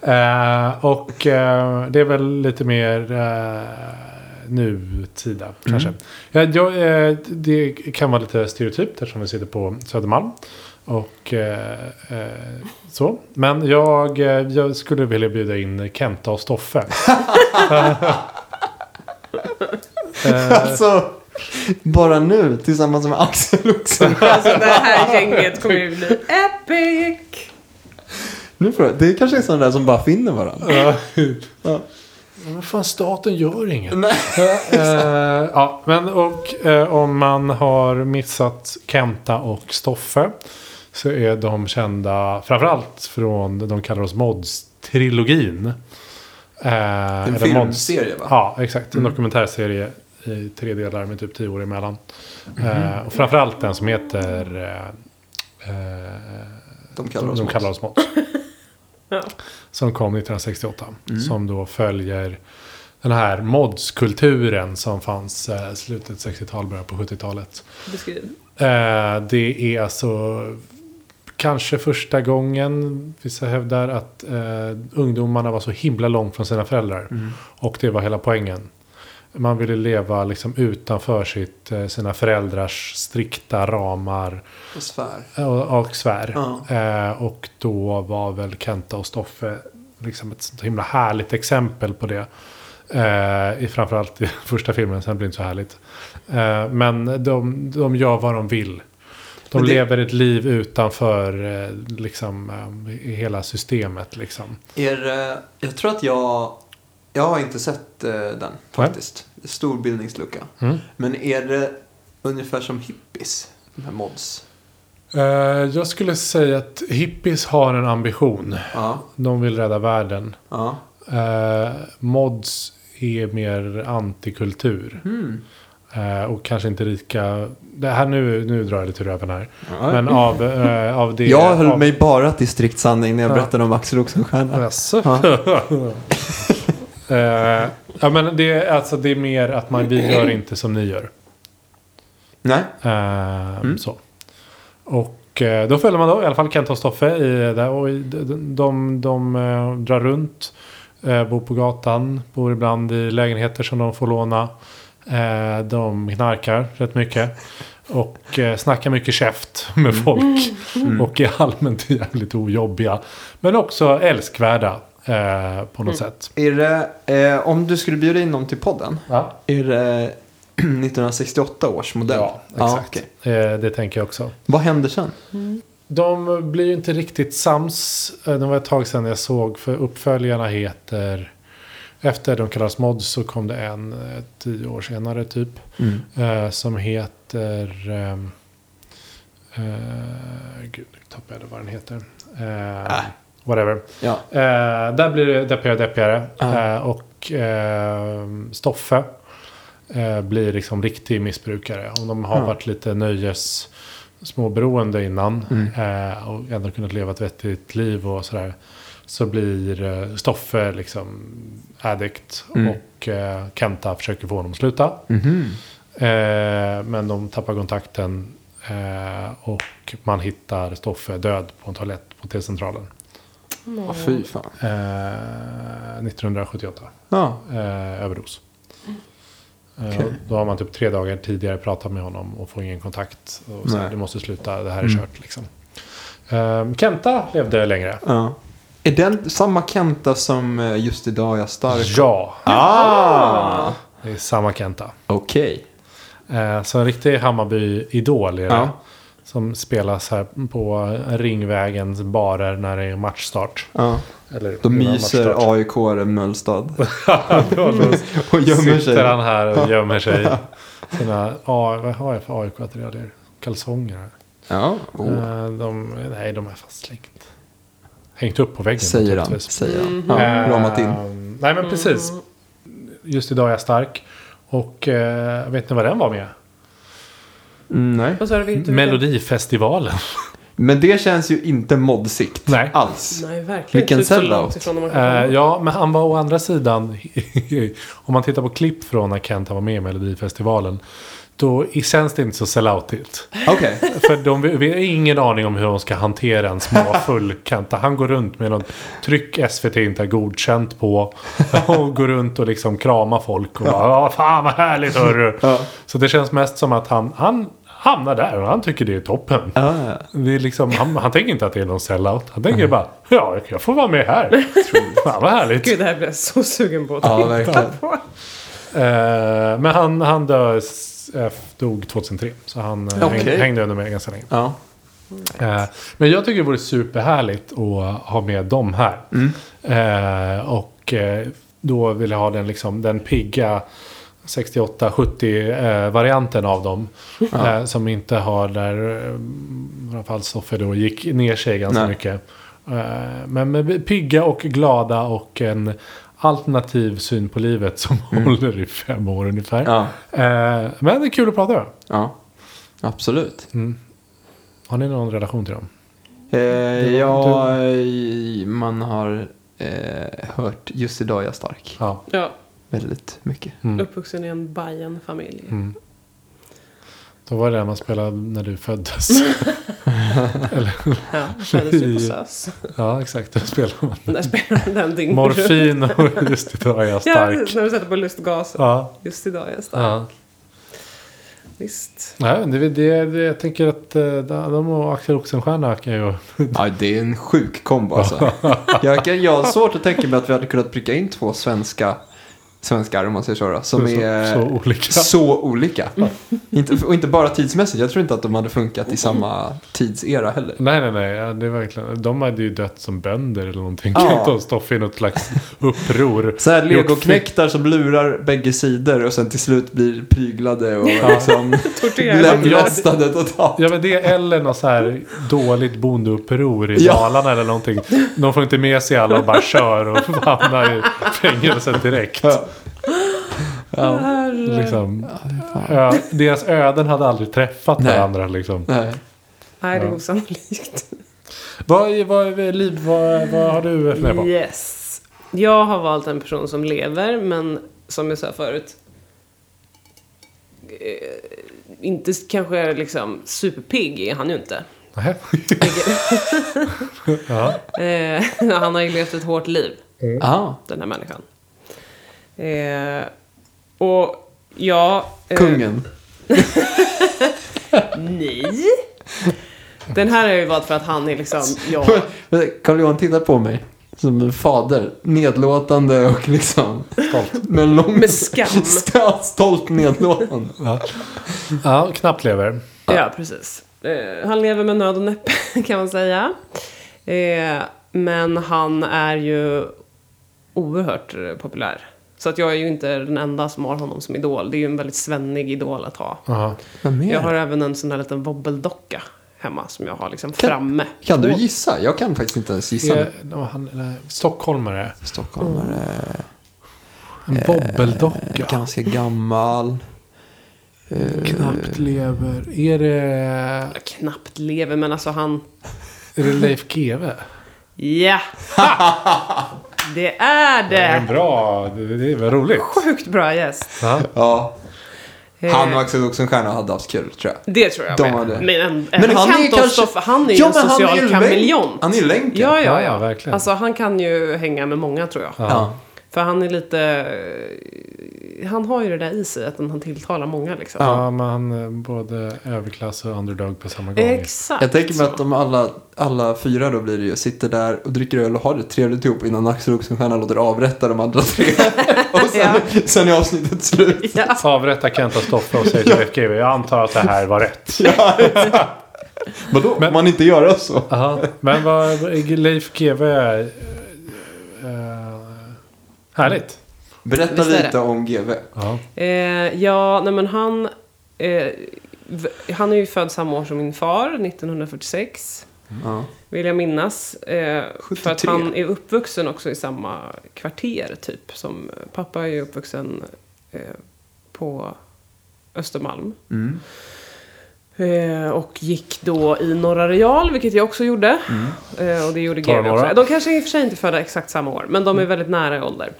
[SPEAKER 1] Eh, och eh, det är väl lite mer eh, nutida kanske. Ja, jag, eh, det kan vara lite stereotypt eftersom vi sitter på Södermalm. Och eh, eh, så. Men jag, eh, jag skulle vilja bjuda in Kenta och Stoffe. Eh,
[SPEAKER 4] Alltså, bara nu tillsammans med Axel också.
[SPEAKER 3] Alltså det här gänget kommer ju bli epic!
[SPEAKER 4] Nu får jag, det kanske är sådana där som bara finner varandra.
[SPEAKER 1] Ja.
[SPEAKER 4] Ja.
[SPEAKER 1] Men fan, staten gör inget.
[SPEAKER 4] Nej.
[SPEAKER 1] Eh, ja, men och eh, om man har missat Kenta och Stoffe så är de kända framförallt från de kallar oss Mods-trilogin. Eh,
[SPEAKER 4] En
[SPEAKER 1] eller
[SPEAKER 4] filmserie va? Mm.
[SPEAKER 1] Ja, exakt. En dokumentärserie i tre delar med typ tio år emellan.
[SPEAKER 4] Mhm.
[SPEAKER 1] Eh, och framförallt den som heter eh, eh,
[SPEAKER 4] De kallar oss
[SPEAKER 1] de
[SPEAKER 4] Måns.
[SPEAKER 1] kallar oss Måns.
[SPEAKER 3] Ja.
[SPEAKER 1] Som kom 1968.
[SPEAKER 4] Mm.
[SPEAKER 1] Som då följer den här modskulturen som fanns eh, slutet 60-tal, början på 70-talet.
[SPEAKER 3] Beskriv.
[SPEAKER 1] Eh, det är alltså kanske första gången vissa hävdar att eh, ungdomarna var så himla långt från sina föräldrar.
[SPEAKER 4] Mm.
[SPEAKER 1] Och det var hela poängen. Man ville leva liksom utanför sitt, eh, sina föräldrars strikta ramar. eh,
[SPEAKER 4] Och svär.
[SPEAKER 1] Och, och svär.
[SPEAKER 4] Ja.
[SPEAKER 1] Eh, och då var väl Kenta och Stoffe liksom ett sånt himla härligt exempel på det. Eh, i, framförallt i första filmen, sen blir det inte så härligt. Eh, men de, de gör vad de vill. De
[SPEAKER 4] Men det-
[SPEAKER 1] lever ett liv utanför eh, liksom, eh, hela systemet. Liksom.
[SPEAKER 4] Är det- eh, jag tror att jag... Jag har inte sett eh, den faktiskt. Stor bildningslucka.
[SPEAKER 1] Mm.
[SPEAKER 4] Men är det ungefär som hippies? De här mods.
[SPEAKER 1] Eh, jag skulle säga att hippies har en ambition.
[SPEAKER 4] Ja.
[SPEAKER 1] De vill rädda världen.
[SPEAKER 4] ja.
[SPEAKER 1] Eh, mods är mer antikultur. Eh, och kanske inte lika... Det här nu, nu drar jag lite ur röven här. Men av, eh, av det...
[SPEAKER 4] Jag höll
[SPEAKER 1] av,
[SPEAKER 4] mig bara till strikt sanning när jag
[SPEAKER 1] Ja.
[SPEAKER 4] berättade om Axel Oxenstierna.
[SPEAKER 1] Jaså?
[SPEAKER 4] Ja.
[SPEAKER 1] Eh, ja, men det, är- alltså, det är mer att man, vi gör inte som ni gör.
[SPEAKER 4] Nej.
[SPEAKER 1] Eh, så. Och eh, då följer man då i alla fall Kent och Stoffe i där. Och i, de, de, de, eh, drar runt. Eh, bor på gatan. Bor ibland i lägenheter som de får låna. Eh, de knarkar rätt mycket. Och eh, snackar mycket käft med folk. Och är allmänt jävligt ojobbiga. Men också älskvärda. Eh, på något sätt.
[SPEAKER 4] Är det, eh, om du skulle bjuda in någon till podden,
[SPEAKER 1] Ja,
[SPEAKER 4] är det 1968 års modell?
[SPEAKER 1] ja exakt.
[SPEAKER 4] okej.
[SPEAKER 1] eh, det tänker jag också.
[SPEAKER 4] Vad händer sen?
[SPEAKER 1] De blir ju inte riktigt sams. Eh, Det var ett tag sedan jag såg. För uppföljarna heter... Efter de kallas mods så kom det en eh, tio år senare typ.
[SPEAKER 4] Mm.
[SPEAKER 1] Eh, som heter... ehm, eh, gud, nu tappade jag det vad den heter. Eh, Whatever.
[SPEAKER 4] Ja.
[SPEAKER 1] Eh, där blir det deppigare Eh, och deppigare.
[SPEAKER 4] Ja.
[SPEAKER 1] Eh, och ehm, Stoffe eh, blir liksom riktig missbrukare. Om de har varit lite nöjes småberoende innan eh, och ändå kunnat leva ett vettigt liv och sådär. Så blir eh, Stoffe liksom addict och eh, Kenta försöker få honom att sluta.
[SPEAKER 4] Mhm.
[SPEAKER 1] Eh, men de tappar kontakten eh, och man hittar Stoffe död på en toalett på T-centralen.
[SPEAKER 4] Ja, fy fan.
[SPEAKER 1] Eh, 1978.
[SPEAKER 4] Ja,
[SPEAKER 1] Eh, överdos. Eh, och då har man typ tre dagar tidigare pratat med honom och får ingen kontakt. Och så här,
[SPEAKER 4] Nej. Mm.
[SPEAKER 1] du måste sluta, det här är kört liksom. Eh, Kenta levde längre.
[SPEAKER 4] ja.
[SPEAKER 6] Är den samma Kenta som eh, just idag är stark?
[SPEAKER 1] Ja,
[SPEAKER 4] Ah!
[SPEAKER 1] det är samma Kenta.
[SPEAKER 4] Okej.
[SPEAKER 1] Eh, så en riktig Hammarby-idol är det.
[SPEAKER 4] Ja.
[SPEAKER 1] Som spelas här på Ringvägens barer när det är matchstart.
[SPEAKER 4] Ja.
[SPEAKER 1] Eller
[SPEAKER 4] Då
[SPEAKER 1] innan
[SPEAKER 4] myser
[SPEAKER 1] matchstart.
[SPEAKER 4] AIK i Mölstad
[SPEAKER 1] Då- då
[SPEAKER 4] och gömmer
[SPEAKER 1] Sitter
[SPEAKER 4] sig.
[SPEAKER 1] han här och gömmer sig. Sina, ah, vad har jag för AIK-attiraljer? Kalsonger här.
[SPEAKER 4] Ja. Oh.
[SPEAKER 1] Eh, de, nej, de är fastslängda. Hängt upp på väggen.
[SPEAKER 4] Säger han.
[SPEAKER 1] naturligtvis.
[SPEAKER 4] Säger han. Ja,
[SPEAKER 1] Eh,
[SPEAKER 4] ramat in.
[SPEAKER 1] Nej, men precis. Just idag är jag stark. Och eh, vet ni vad den var med?
[SPEAKER 4] Mm, nej.
[SPEAKER 3] Vad sa du? Vet du vilken?
[SPEAKER 1] Melodifestivalen.
[SPEAKER 4] Men det känns ju inte modsigt.
[SPEAKER 1] Nej.
[SPEAKER 4] Alls.
[SPEAKER 3] Nej, verkligen.
[SPEAKER 4] Vilken
[SPEAKER 3] Typ så
[SPEAKER 4] sellout.
[SPEAKER 3] långt ifrån när man kan komma.
[SPEAKER 1] Eh, ja, men han var å andra sidan, om man tittar på klipp från när Kent var med i Melodifestivalen, då i- känns det inte så selloutigt.
[SPEAKER 4] Okej.
[SPEAKER 1] För de vi- vi har ingen aning om hur de ska hantera en småfull Kenta. Han går runt med något tryck SVT inte har godkänt på. Och går runt och liksom kramar folk och bara ja fan vad härligt hörru.
[SPEAKER 4] Ja.
[SPEAKER 1] Så det känns mest som att han, han hamnar där och han tycker det är toppen.
[SPEAKER 4] Ah,
[SPEAKER 1] Det är liksom, han, han tänker inte att det är någon sellout. Han tänker bara ja jag får vara med här. Fan vad härligt.
[SPEAKER 3] Gud, det här blir jag så sugen på att
[SPEAKER 4] Ja,
[SPEAKER 3] titta
[SPEAKER 4] verkligen.
[SPEAKER 3] på.
[SPEAKER 1] Eh, men han, han dö, s- eh, dog 2003. Så han eh,
[SPEAKER 4] Okej.
[SPEAKER 1] hängde, hängde under mig ganska länge.
[SPEAKER 4] ja.
[SPEAKER 1] Eh, Men jag tycker det vore superhärligt att ha med dem här.
[SPEAKER 4] Mm.
[SPEAKER 1] Eh, och eh, då vill jag ha den, liksom, den pigga 68-70-varianten av dem. Eh, som inte har där, eh, i alla fall Soffe då, gick ner sig ganska
[SPEAKER 4] Nej.
[SPEAKER 1] mycket. Eh, men med pigga och glada och en alternativ syn på livet som håller i fem år ungefär.
[SPEAKER 4] Mm. Ja.
[SPEAKER 1] Eh, men det är kul att prata med. Mm.
[SPEAKER 4] ja. Absolut.
[SPEAKER 1] Har ni någon relation till dem?
[SPEAKER 4] Eh, ja, eh, man har eh, hört just idag är jag stark
[SPEAKER 1] Ja.
[SPEAKER 3] Ja,
[SPEAKER 4] väldigt mycket.
[SPEAKER 1] Mm.
[SPEAKER 3] uppvuxen i en Bajen-familj.
[SPEAKER 1] Då var det där man spelade när du föddes.
[SPEAKER 3] Ja, föddes ju på SÖS.
[SPEAKER 1] ja, exakt. Då spelade man
[SPEAKER 3] Där spelar den dygnet
[SPEAKER 1] morfin och just idag är jag
[SPEAKER 3] Ja,
[SPEAKER 1] stark.
[SPEAKER 3] precis, när du sätter på lustgasen.
[SPEAKER 1] Ja,
[SPEAKER 3] Just idag är jag stark.
[SPEAKER 1] ja.
[SPEAKER 3] Visst.
[SPEAKER 1] Nej, men det, det, det, jag tänker att eh, de och Axel Oxenstierna kan ju...
[SPEAKER 4] Ja, det är en sjuk kombo alltså. jag, kan, jag har svårt att tänka mig att vi hade kunnat pricka in två svenska svenskar om man säger så, då, som
[SPEAKER 1] Så-
[SPEAKER 4] är
[SPEAKER 1] så olika.
[SPEAKER 4] Så olika. inte, och inte bara tidsmässigt, jag tror inte att de hade funkat i samma tidsera heller.
[SPEAKER 1] Nej, nej, nej. Ja, det är verkligen, de hade ju dött som bönder eller någonting.
[SPEAKER 4] Ja.
[SPEAKER 1] Ja. De stoffade i något slags uppror.
[SPEAKER 4] Så här
[SPEAKER 1] Gjort
[SPEAKER 4] legoknektar som lurar bägge sidor och sen till slut blir pryglade och liksom
[SPEAKER 3] Torterad.
[SPEAKER 4] lemlästade totalt.
[SPEAKER 1] Ja men det eller något så här dåligt bondeuppror i
[SPEAKER 4] Ja.
[SPEAKER 1] Dalarna eller någonting. De får inte med sig alla och bara kör och hamnar i fängelset direkt.
[SPEAKER 4] Ja.
[SPEAKER 1] Liksom, ö, deras öden hade aldrig träffat
[SPEAKER 4] Nej.
[SPEAKER 1] varandra liksom.
[SPEAKER 4] Nej.
[SPEAKER 3] Nej, det är
[SPEAKER 1] Ja.
[SPEAKER 3] osannolikt.
[SPEAKER 1] Vad, är- vad, är- liv, vad, vad har du funderat på?
[SPEAKER 3] Yes. Jag har valt en person som lever, men som jag sa förut. eh, Inte s- kanske liksom superpigg är han ju inte.
[SPEAKER 1] Nähä. ja.
[SPEAKER 3] Eh, han har ju levt ett hårt liv.
[SPEAKER 4] Ah,
[SPEAKER 3] den här människan. Eh, och ja... eh,
[SPEAKER 4] kungen.
[SPEAKER 3] Nej! Den här har jag ju valt för att han är liksom, ja,
[SPEAKER 4] Carl-Johan tittar på mig som en fader. Nedlåtande och liksom... Stolt. Men lång...
[SPEAKER 3] med skam.
[SPEAKER 4] Sta- Stolt nedlåtande.
[SPEAKER 1] ja, knappt lever.
[SPEAKER 3] Ja, precis. Eh, han lever med nöd och näppe kan man säga. Eh, men han är ju oerhört eh, populär. Så att jag är ju inte den enda som har honom som idol. Det är ju en väldigt svennig idol att ha.
[SPEAKER 1] Jaha.
[SPEAKER 4] Vad mer?
[SPEAKER 3] Jag har även en sån här liten wobbeldocka hemma som jag har liksom
[SPEAKER 4] Kan-
[SPEAKER 3] framme.
[SPEAKER 4] Kan du gissa? Jag kan faktiskt inte ens gissa.
[SPEAKER 1] Är,
[SPEAKER 4] nu.
[SPEAKER 1] no, han, nej, stockholmare.
[SPEAKER 4] Stockholmare.
[SPEAKER 1] En bobbeldocka.
[SPEAKER 4] Ganska gammal. Eh,
[SPEAKER 1] Knappt lever. Är det,
[SPEAKER 3] Knappt lever, men alltså han...
[SPEAKER 1] är det Leif GW?
[SPEAKER 3] Ja! det är
[SPEAKER 1] Det är en
[SPEAKER 3] det!
[SPEAKER 1] bra. Det det är väl roligt.
[SPEAKER 3] Sjukt bra gäst.
[SPEAKER 1] Ja.
[SPEAKER 4] ja,
[SPEAKER 3] Eh,
[SPEAKER 4] han och Axel Oxenstierna hade haft kul tror jag.
[SPEAKER 3] Det tror jag
[SPEAKER 4] De
[SPEAKER 3] med.
[SPEAKER 4] hade-
[SPEAKER 3] Men, en, men han, är kanske... han är ju
[SPEAKER 4] Ja,
[SPEAKER 3] en
[SPEAKER 4] men han är
[SPEAKER 3] social
[SPEAKER 4] ju länk.
[SPEAKER 3] kameleont.
[SPEAKER 4] Han är ju typ. länken.
[SPEAKER 3] Ja, ja,
[SPEAKER 1] Ja,
[SPEAKER 3] ja.
[SPEAKER 1] ja, verkligen.
[SPEAKER 3] Alltså han kan ju hänga med många tror jag.
[SPEAKER 4] Ja.
[SPEAKER 3] För han är lite... eh, Han har ju det där i sig att han tilltalar många liksom.
[SPEAKER 1] Ja, men han är både överklass och underdog på samma gång.
[SPEAKER 3] Exakt.
[SPEAKER 4] Jag tänker mig att de alla, alla fyra då blir det ju, sitter där och dricker öl och har det trevligt ihop innan Axel Oxenstierna låter avrätta de andra tre. och sen, sen är avsnittet slut.
[SPEAKER 3] Ja.
[SPEAKER 1] Avrätta Kenta Stoffe och säger till Leif GW. Jag antar att det här var rätt.
[SPEAKER 4] Vadå?
[SPEAKER 1] Men-
[SPEAKER 4] man inte göra så?
[SPEAKER 1] Aha. Men vad, eh, Leif eh, GW är... eh, härligt.
[SPEAKER 4] Berätta
[SPEAKER 3] Visst är
[SPEAKER 4] lite
[SPEAKER 3] det.
[SPEAKER 4] om GV.
[SPEAKER 1] Ja.
[SPEAKER 3] Eh, ja, nej men han... Eh, v- han är ju född samma år som min far, 1946.
[SPEAKER 4] Ja.
[SPEAKER 3] Vill jag minnas. Eh, för att
[SPEAKER 4] 73.
[SPEAKER 3] han är uppvuxen också i samma kvarter typ. Som, pappa är ju uppvuxen eh, på Östermalm.
[SPEAKER 1] Mm.
[SPEAKER 3] Eh, och gick då i Norra Real, vilket jag också gjorde. Eh, och det gjorde
[SPEAKER 1] Mm. Tar
[SPEAKER 3] GW
[SPEAKER 1] några. Mm.
[SPEAKER 3] också. De kanske i och för sig inte är födda exakt samma år, men de är väldigt nära i ålder.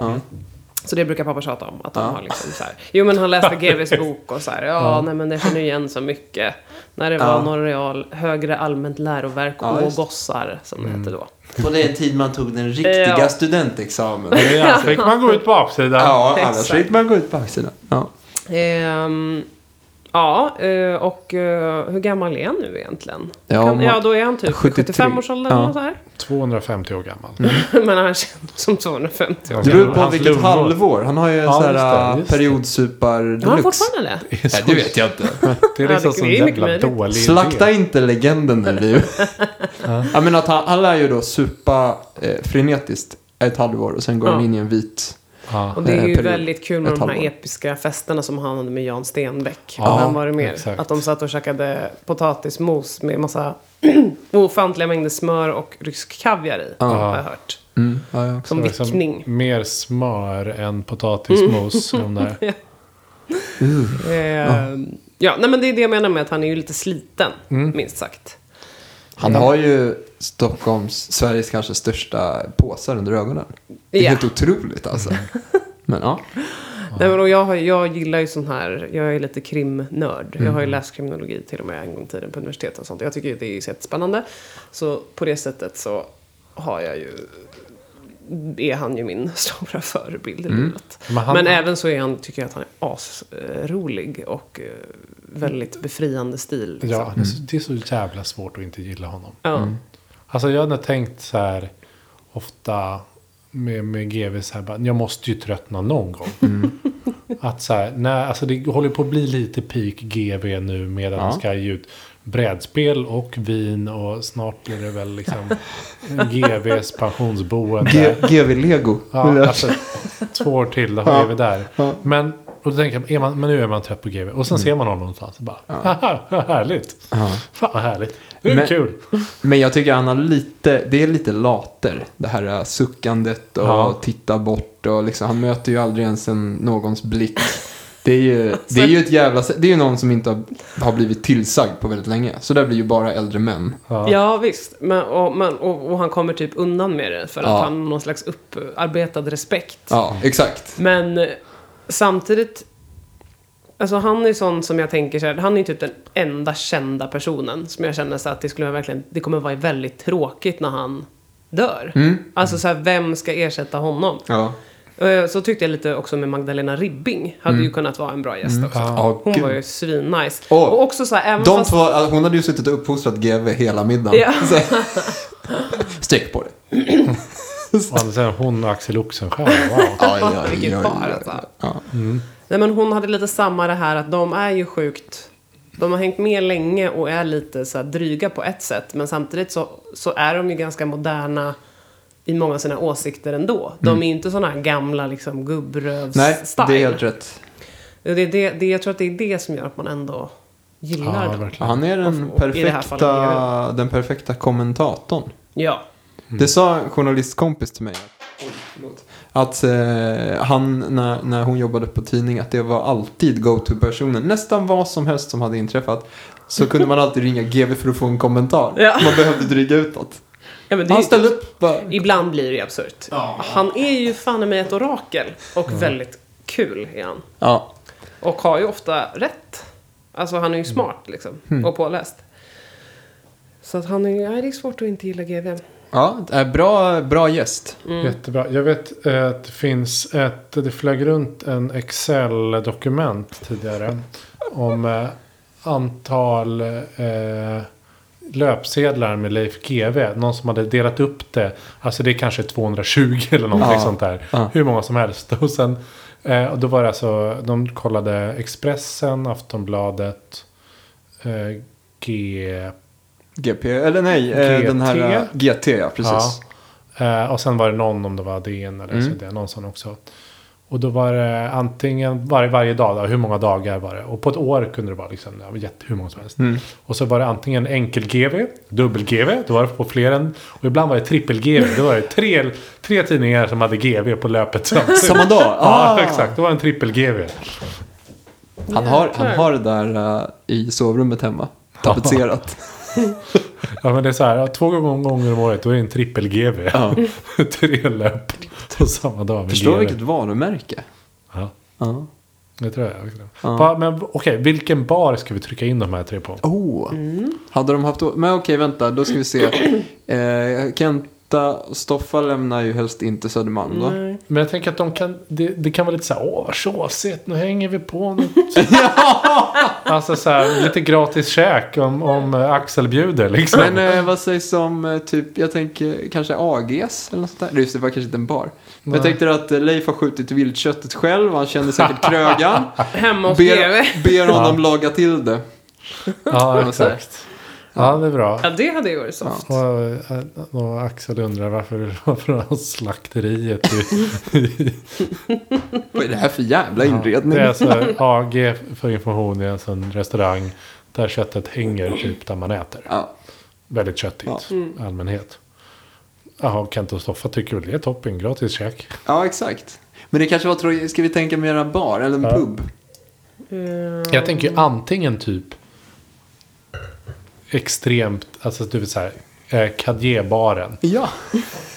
[SPEAKER 3] Så det brukar pappa tjata om. Att de har liksom så här. Jo men han läste GVs bok och så här. Ja, nej men det känner ju igen så mycket. När det var Norra Real, högre allmänt läroverk
[SPEAKER 4] Ja,
[SPEAKER 3] och
[SPEAKER 4] just det. Mm.
[SPEAKER 3] gossar som det hette då.
[SPEAKER 4] På den tid man tog den riktiga
[SPEAKER 3] Ja.
[SPEAKER 4] studentexamen.
[SPEAKER 1] Ja, alltså- fick man gå ut på avsidan.
[SPEAKER 4] Ja, annars
[SPEAKER 3] Exakt.
[SPEAKER 4] fick man gå ut på baksidan. Ja.
[SPEAKER 3] Ehm, ja, eh, och eh, hur gammal är han nu egentligen?
[SPEAKER 4] Ja,
[SPEAKER 3] kan,
[SPEAKER 4] man-
[SPEAKER 3] ja då är han typ
[SPEAKER 4] 73.
[SPEAKER 3] 75 års ålder eller
[SPEAKER 4] Ja.
[SPEAKER 3] något så här.
[SPEAKER 1] 250 år gammal.
[SPEAKER 3] Men han känns som 250 år.
[SPEAKER 4] Det beror på
[SPEAKER 1] Hans
[SPEAKER 4] vilket
[SPEAKER 1] lungor.
[SPEAKER 4] halvår. Han har ju en
[SPEAKER 1] Ja,
[SPEAKER 4] sån här
[SPEAKER 1] just det,
[SPEAKER 4] äh,
[SPEAKER 1] just det.
[SPEAKER 4] periodsupar
[SPEAKER 3] Har han
[SPEAKER 4] deluxe.
[SPEAKER 3] fortfarande det?
[SPEAKER 4] Nej, det vet jag inte.
[SPEAKER 1] Det är
[SPEAKER 3] Ja,
[SPEAKER 1] liksom
[SPEAKER 3] det-
[SPEAKER 1] sån
[SPEAKER 3] det är mycket
[SPEAKER 1] jävla
[SPEAKER 3] möjligt.
[SPEAKER 1] dålig
[SPEAKER 4] Slakta
[SPEAKER 1] idé.
[SPEAKER 4] inte legenden nu, Liv. Jag menar att han, han lär ju då supa eh, frenetiskt ett halvår och sen går
[SPEAKER 3] Ja.
[SPEAKER 4] han in i en vit.
[SPEAKER 1] Ja.
[SPEAKER 3] Och det är
[SPEAKER 4] Eh,
[SPEAKER 3] ju
[SPEAKER 4] period.
[SPEAKER 3] väldigt kul med
[SPEAKER 4] Ett
[SPEAKER 3] de här
[SPEAKER 4] halvår.
[SPEAKER 3] episka festerna som han hade med Jan Stenbeck.
[SPEAKER 1] Ja,
[SPEAKER 3] Vem var det mer?
[SPEAKER 1] exakt.
[SPEAKER 3] Att de satt och käkade potatismos med massa ofantliga mängder smör och rysk kaviar i. Har jag hört.
[SPEAKER 4] Mm, ja, ja.
[SPEAKER 3] Som
[SPEAKER 1] Det var liksom
[SPEAKER 3] vickning.
[SPEAKER 1] Mer smör än potatismos. i de där.
[SPEAKER 3] Eh, ja, nej men det är det jag menar med att han är ju lite sliten,
[SPEAKER 4] Mm.
[SPEAKER 3] minst sagt.
[SPEAKER 4] Han har ju Stockholms, Sveriges kanske största påsar under ögonen. Det är
[SPEAKER 3] Ja.
[SPEAKER 4] helt otroligt alltså. Men ja.
[SPEAKER 3] Nej, men och jag, har, jag gillar ju sån här, jag är lite krimnörd. Jag
[SPEAKER 1] Mm.
[SPEAKER 3] har ju läst kriminologi till och med en gång i tiden på universitetet och sånt. Jag tycker ju det är jättespännande. Så på det sättet så har jag ju, är han ju min stora förebild i livet.
[SPEAKER 1] Mm. Men han-
[SPEAKER 3] Men, även så är han, tycker jag att han är asrolig och eh, väldigt befriande stil. Liksom.
[SPEAKER 1] Ja, det är så- det är så jävla svårt att inte gilla honom.
[SPEAKER 3] Ja.
[SPEAKER 1] Alltså jag har nog tänkt så här ofta med, med GV så här, bara, jag måste ju tröttna någon gång. Att så här, nej, alltså det håller på att bli lite peak GV nu med att
[SPEAKER 4] Ja.
[SPEAKER 1] de ska ge ut brädspel och vin och snart blir det väl liksom GVs pensionsboende.
[SPEAKER 4] GV Lego.
[SPEAKER 1] Ja, alltså, två år till, då har GV där. Men, och då tänker jag, är man, men nu är man trött på GV. Och sen ser man honom någonstans och bara, haha, vad härligt. Fan vad härligt. Det är
[SPEAKER 4] Men-
[SPEAKER 1] kul.
[SPEAKER 4] Men jag tycker han har lite, det är lite later. Det här eh, suckandet och
[SPEAKER 1] Ja.
[SPEAKER 4] titta bort och liksom, han möter ju aldrig ens en, någons blick. Det är ju, det är ju ett jävla, det är ju någon som inte har, har blivit tillsagd på väldigt länge. Så där blir ju bara äldre män.
[SPEAKER 3] Ja visst, men, och, men, och, och han kommer typ undan med det för att
[SPEAKER 4] Ja.
[SPEAKER 3] han har någon slags upparbetad respekt.
[SPEAKER 4] Ja, exakt.
[SPEAKER 3] Men eh, samtidigt, alltså han är sån som jag tänker så här, han är typ den enda kända personen som jag känner så att det skulle vara verkligen, det kommer vara väldigt tråkigt när han dör.
[SPEAKER 4] Mm.
[SPEAKER 3] Alltså så här, vem ska ersätta honom?
[SPEAKER 4] Ja.
[SPEAKER 3] Eh, Så tyckte jag lite också med Magdalena Ribbing, hade ju kunnat vara en bra gäst också.
[SPEAKER 4] Mm. Ja,
[SPEAKER 3] Hon
[SPEAKER 4] gud.
[SPEAKER 3] var ju svinnice.
[SPEAKER 4] Åh,
[SPEAKER 3] Och också så här, även
[SPEAKER 4] De
[SPEAKER 3] fast...
[SPEAKER 4] två, alltså, hon hade ju suttit och uppfostrat GV hela middagen.
[SPEAKER 3] Ja.
[SPEAKER 4] Så- Sträck på det.
[SPEAKER 1] Och andra sidan, hon och Axel Oxenstierna, wow.
[SPEAKER 4] Aj,
[SPEAKER 3] aj, aj, Vilket aj, par, aj. alltså. Nej men hon hade lite samma det här att de är ju sjukt De har hängt med länge och är lite så här dryga på ett sätt Men samtidigt så, så är de ju ganska moderna I många av sina åsikter ändå De är ju inte sådana här gamla liksom
[SPEAKER 4] Mm. Nej,
[SPEAKER 3] gubbrövs-style
[SPEAKER 4] det är helt rätt.
[SPEAKER 3] det, är det, det, Jag tror att det är det som gör att man ändå gillar
[SPEAKER 1] Ja,
[SPEAKER 3] dem
[SPEAKER 1] verkligen.
[SPEAKER 4] Han är den
[SPEAKER 3] Och- och i det här fallet är
[SPEAKER 4] perfekta, den perfekta kommentatorn.
[SPEAKER 3] Ja
[SPEAKER 4] Det sa en journalistkompis till mig. Oj, förlåt. Att eh, han, när, när hon jobbade på tidning, att det var alltid go-to-personen. Nästan vad som helst som hade inträffat så kunde man alltid ringa GV för att få en kommentar.
[SPEAKER 3] Ja.
[SPEAKER 4] Man behövde dryga utåt.
[SPEAKER 3] Ja, men det är
[SPEAKER 4] Han
[SPEAKER 3] ju,
[SPEAKER 4] ställde upp bara,
[SPEAKER 3] ibland blir det ju absurt. Han är ju fan i mig ett orakel. Och väldigt kul är han.
[SPEAKER 4] ja,
[SPEAKER 3] Och har ju ofta rätt. Alltså han är ju smart liksom. Och påläst. Så att han är ju, nej, det är svårt att inte gilla GV.
[SPEAKER 4] ja det är bra, bra gäst.
[SPEAKER 1] Jättebra. Jag vet eh, att det finns ett, det flög runt en Excel-dokument tidigare. om eh, antal eh, löpsedlar med Leif GW. Någon som hade delat upp det. Alltså det är kanske 220 eller någonting
[SPEAKER 4] Ja,
[SPEAKER 1] sånt där.
[SPEAKER 4] ja.
[SPEAKER 1] Hur många som helst. Och sen, eh, och då var det alltså, de kollade Expressen, Aftonbladet, eh, G...
[SPEAKER 4] GP, eller nej, eh,
[SPEAKER 1] GT.
[SPEAKER 4] den här eh, GT, ja precis. Mm.
[SPEAKER 1] Ja. Eh, och sen var det någon, om det var DN eller SvD, någon sån också. Och då var det antingen var, varje dag, då, hur många dagar var det? Och på ett år kunde det vara liksom, ja, jätte, hur många som helst.
[SPEAKER 4] Mm.
[SPEAKER 1] Och så var det antingen enkel-GV, dubbel-GV, då var det på fler än. Och ibland var det trippel-GV, då var det tre, tre tidningar som hade GV på löpet samtidigt.
[SPEAKER 4] Samma dag?
[SPEAKER 1] Ja,
[SPEAKER 4] Ah.
[SPEAKER 1] exakt. Det var en trippel-GV.
[SPEAKER 4] Han, har, han
[SPEAKER 3] Jäklar.
[SPEAKER 4] har det där eh, i sovrummet hemma. Tapetserat.
[SPEAKER 1] Ja, men det är så här, ja, två gånger om året, då är det en trippel-GV.
[SPEAKER 4] Ja.
[SPEAKER 1] tre löp på samma dag med
[SPEAKER 4] Förstår
[SPEAKER 1] GV.
[SPEAKER 4] vilket varumärke.
[SPEAKER 1] Ja.
[SPEAKER 4] Ja.
[SPEAKER 1] Det tror jag. också. Va, men okej, vilken bar ska vi trycka in de här tre på?
[SPEAKER 4] Oh. Hade de haft... Men okej, vänta. Då ska vi se. Eh, Kenta och Stoffa lämnar ju helst inte Södermalm då.
[SPEAKER 1] Men jag tänker att de kan, det, det kan vara lite så här, åh vad tjåsigt, nu hänger vi på något. Alltså så här, lite gratis käk om, om eh, Axel bjuder liksom.
[SPEAKER 4] Men eh, vad sägs om eh, typ, jag tänker kanske AGs eller något sånt där. Just det, var kanske inte en bar. Men jag tänkte att eh, Leif har skjutit viltköttet själv. Han känner säkert krögan.
[SPEAKER 3] Hemma hos GV.
[SPEAKER 4] Ber, ber honom laga till det.
[SPEAKER 1] ja,
[SPEAKER 4] så här.
[SPEAKER 1] exakt. Ja, det är bra.
[SPEAKER 3] Ja, det hade ju varit soft.
[SPEAKER 1] Och, eh, och Axel undrar varför, varför har slakteriet i- i...
[SPEAKER 4] Vad är det här för jävla inredning?
[SPEAKER 1] Det är alltså AG för information i en sån restaurang där köttet hänger typ där man äter.
[SPEAKER 4] Ja.
[SPEAKER 1] Väldigt köttigt i allmänhet. Jaha, Kent och Stoffa tycker väl det är toppen. Gratis käk.
[SPEAKER 4] ja, exakt. Men det kanske var, tror jag- ska vi tänka mera bar eller en
[SPEAKER 1] Ja.
[SPEAKER 4] pub?
[SPEAKER 3] Eh,
[SPEAKER 1] Jag tänker ju antingen typ extremt, alltså du vet såhär, eh, Cadierbaren.
[SPEAKER 4] Ja,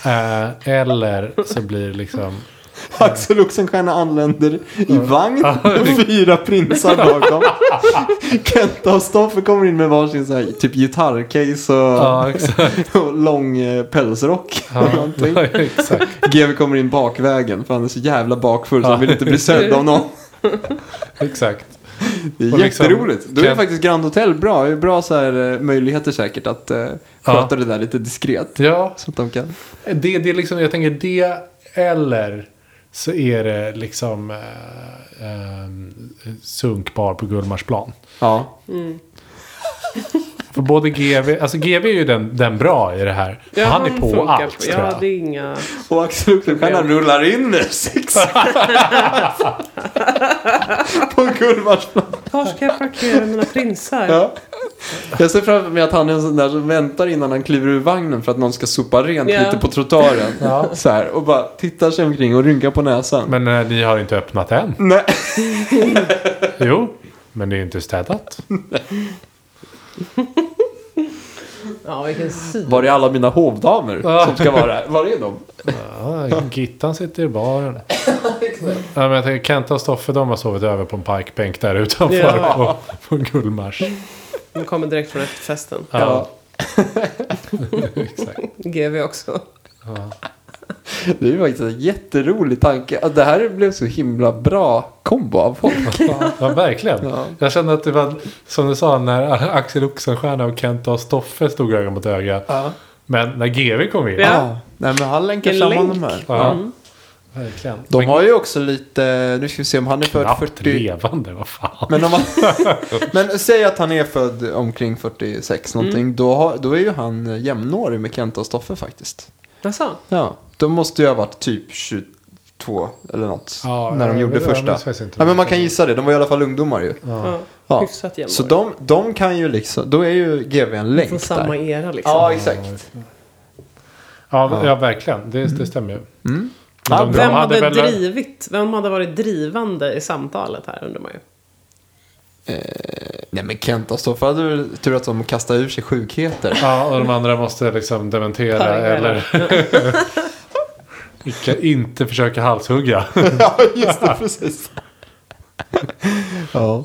[SPEAKER 1] Eh, eller så blir det liksom,
[SPEAKER 4] Axel Oxenstierna anländer i vagn med fyra prinsar bakom. Kenta och Stoffer kommer in med varsin så här, typ gitarrcase
[SPEAKER 1] ja
[SPEAKER 4] och,
[SPEAKER 1] exakt.
[SPEAKER 4] och lång eh, pälsrock. eller
[SPEAKER 1] Ja,
[SPEAKER 4] någonting.
[SPEAKER 1] exakt.
[SPEAKER 4] GW kommer in bakvägen för han är så jävla bakfull så han vill inte bli sedd av någon.
[SPEAKER 1] exakt.
[SPEAKER 4] Det är
[SPEAKER 1] Och liksom,
[SPEAKER 4] jätteroligt. Då är
[SPEAKER 1] kan-
[SPEAKER 4] faktiskt Grand Hotel bra. Det är bra så här, eh, möjligheter säkert att eh, sköta det där lite diskret.
[SPEAKER 1] Ja,
[SPEAKER 4] Så att de kan.
[SPEAKER 1] Det, det är liksom, jag tänker det eller så är det liksom eh, eh, sunkbar på Gullmarsplan.
[SPEAKER 4] Ja.
[SPEAKER 1] För både GV, alltså GV är ju den, den bra i det här.
[SPEAKER 3] ja,
[SPEAKER 1] han är på
[SPEAKER 3] funkar
[SPEAKER 1] allt tror
[SPEAKER 3] Ja,
[SPEAKER 1] jag.
[SPEAKER 3] det är inga...
[SPEAKER 4] Och Axel Oxenstierna rullar in med sex. På Gullmarsplan.
[SPEAKER 3] Var ska jag parkera mina prinsar?
[SPEAKER 4] Ja. Jag ser framför mig att han är en sån där som väntar innan han kliver ur vagnen för att någon ska sopa rent
[SPEAKER 3] Ja.
[SPEAKER 4] lite på trottoaren. Så här, och bara tittar sig omkring och rynkar på näsan.
[SPEAKER 1] Men eh, ni har inte öppnat än.
[SPEAKER 4] Nej.
[SPEAKER 1] Jo, men det är ju inte städat.
[SPEAKER 3] Ja, vilken sida.
[SPEAKER 4] Var är alla mina hovdamer som ska vara här? Var är de?
[SPEAKER 1] Ja, Gittan sitter i baren. ja, men jag tänker, Kenta och Stoffe de har sovit över på en parkbänk där utanför
[SPEAKER 3] Ja.
[SPEAKER 1] på, på Gullmars.
[SPEAKER 3] De kommer direkt från efterfesten.
[SPEAKER 1] Ja, exakt.
[SPEAKER 3] GV också.
[SPEAKER 4] Det är ju faktiskt en jätterolig tanke. Att Det här blev så himla bra kombo av folk.
[SPEAKER 1] Ja, verkligen.
[SPEAKER 4] Ja.
[SPEAKER 1] Jag kände att det var, som du sa, när Axel Oxenstierna och Kenta och Stoffe stod öga mot öga. Men när GV kom in.
[SPEAKER 3] Ja. Mm.
[SPEAKER 4] Nej, men han länkar
[SPEAKER 3] En
[SPEAKER 4] samman
[SPEAKER 3] länk.
[SPEAKER 4] de här.
[SPEAKER 1] Ja, Verkligen.
[SPEAKER 4] De har ju också lite, nu ska vi se om han är född
[SPEAKER 1] knappt
[SPEAKER 4] 40.
[SPEAKER 1] levande, vad fan.
[SPEAKER 4] Men, om man, men säg att han är född omkring 46 någonting.
[SPEAKER 3] Mm.
[SPEAKER 4] Då, har, då är ju han eh, jämnårig med Kenta och Stoffe faktiskt.
[SPEAKER 3] Jaså?
[SPEAKER 4] Ja. De måste ju ha varit typ 22 eller något.
[SPEAKER 1] Ja,
[SPEAKER 4] när de
[SPEAKER 1] jag-
[SPEAKER 4] gjorde
[SPEAKER 1] jag
[SPEAKER 4] första.
[SPEAKER 1] minns faktiskt inte.
[SPEAKER 4] Ja, men man kan gissa det, de var i alla fall ungdomar ju.
[SPEAKER 3] Ja.
[SPEAKER 4] Ja.
[SPEAKER 3] Hyfsat jämnårig.
[SPEAKER 4] Så de, de kan ju liksom, då är ju GV en länk
[SPEAKER 3] Från
[SPEAKER 4] där.
[SPEAKER 3] samma era liksom.
[SPEAKER 4] Ja, exakt.
[SPEAKER 1] Ja, ja verkligen. Det, det stämmer ju. Men de- de
[SPEAKER 3] Vem hade,
[SPEAKER 1] väl-
[SPEAKER 3] drivit, vem hade varit drivande i samtalet här undrar man ju.
[SPEAKER 4] Nej men Kent och Stoffe hade väl tur att de kastade ur sig sjukheter.
[SPEAKER 1] Ja, och de andra måste liksom dementera
[SPEAKER 3] Parera.
[SPEAKER 1] eller Icke- inte försöka halshugga.
[SPEAKER 4] ja, just det, precis. ja.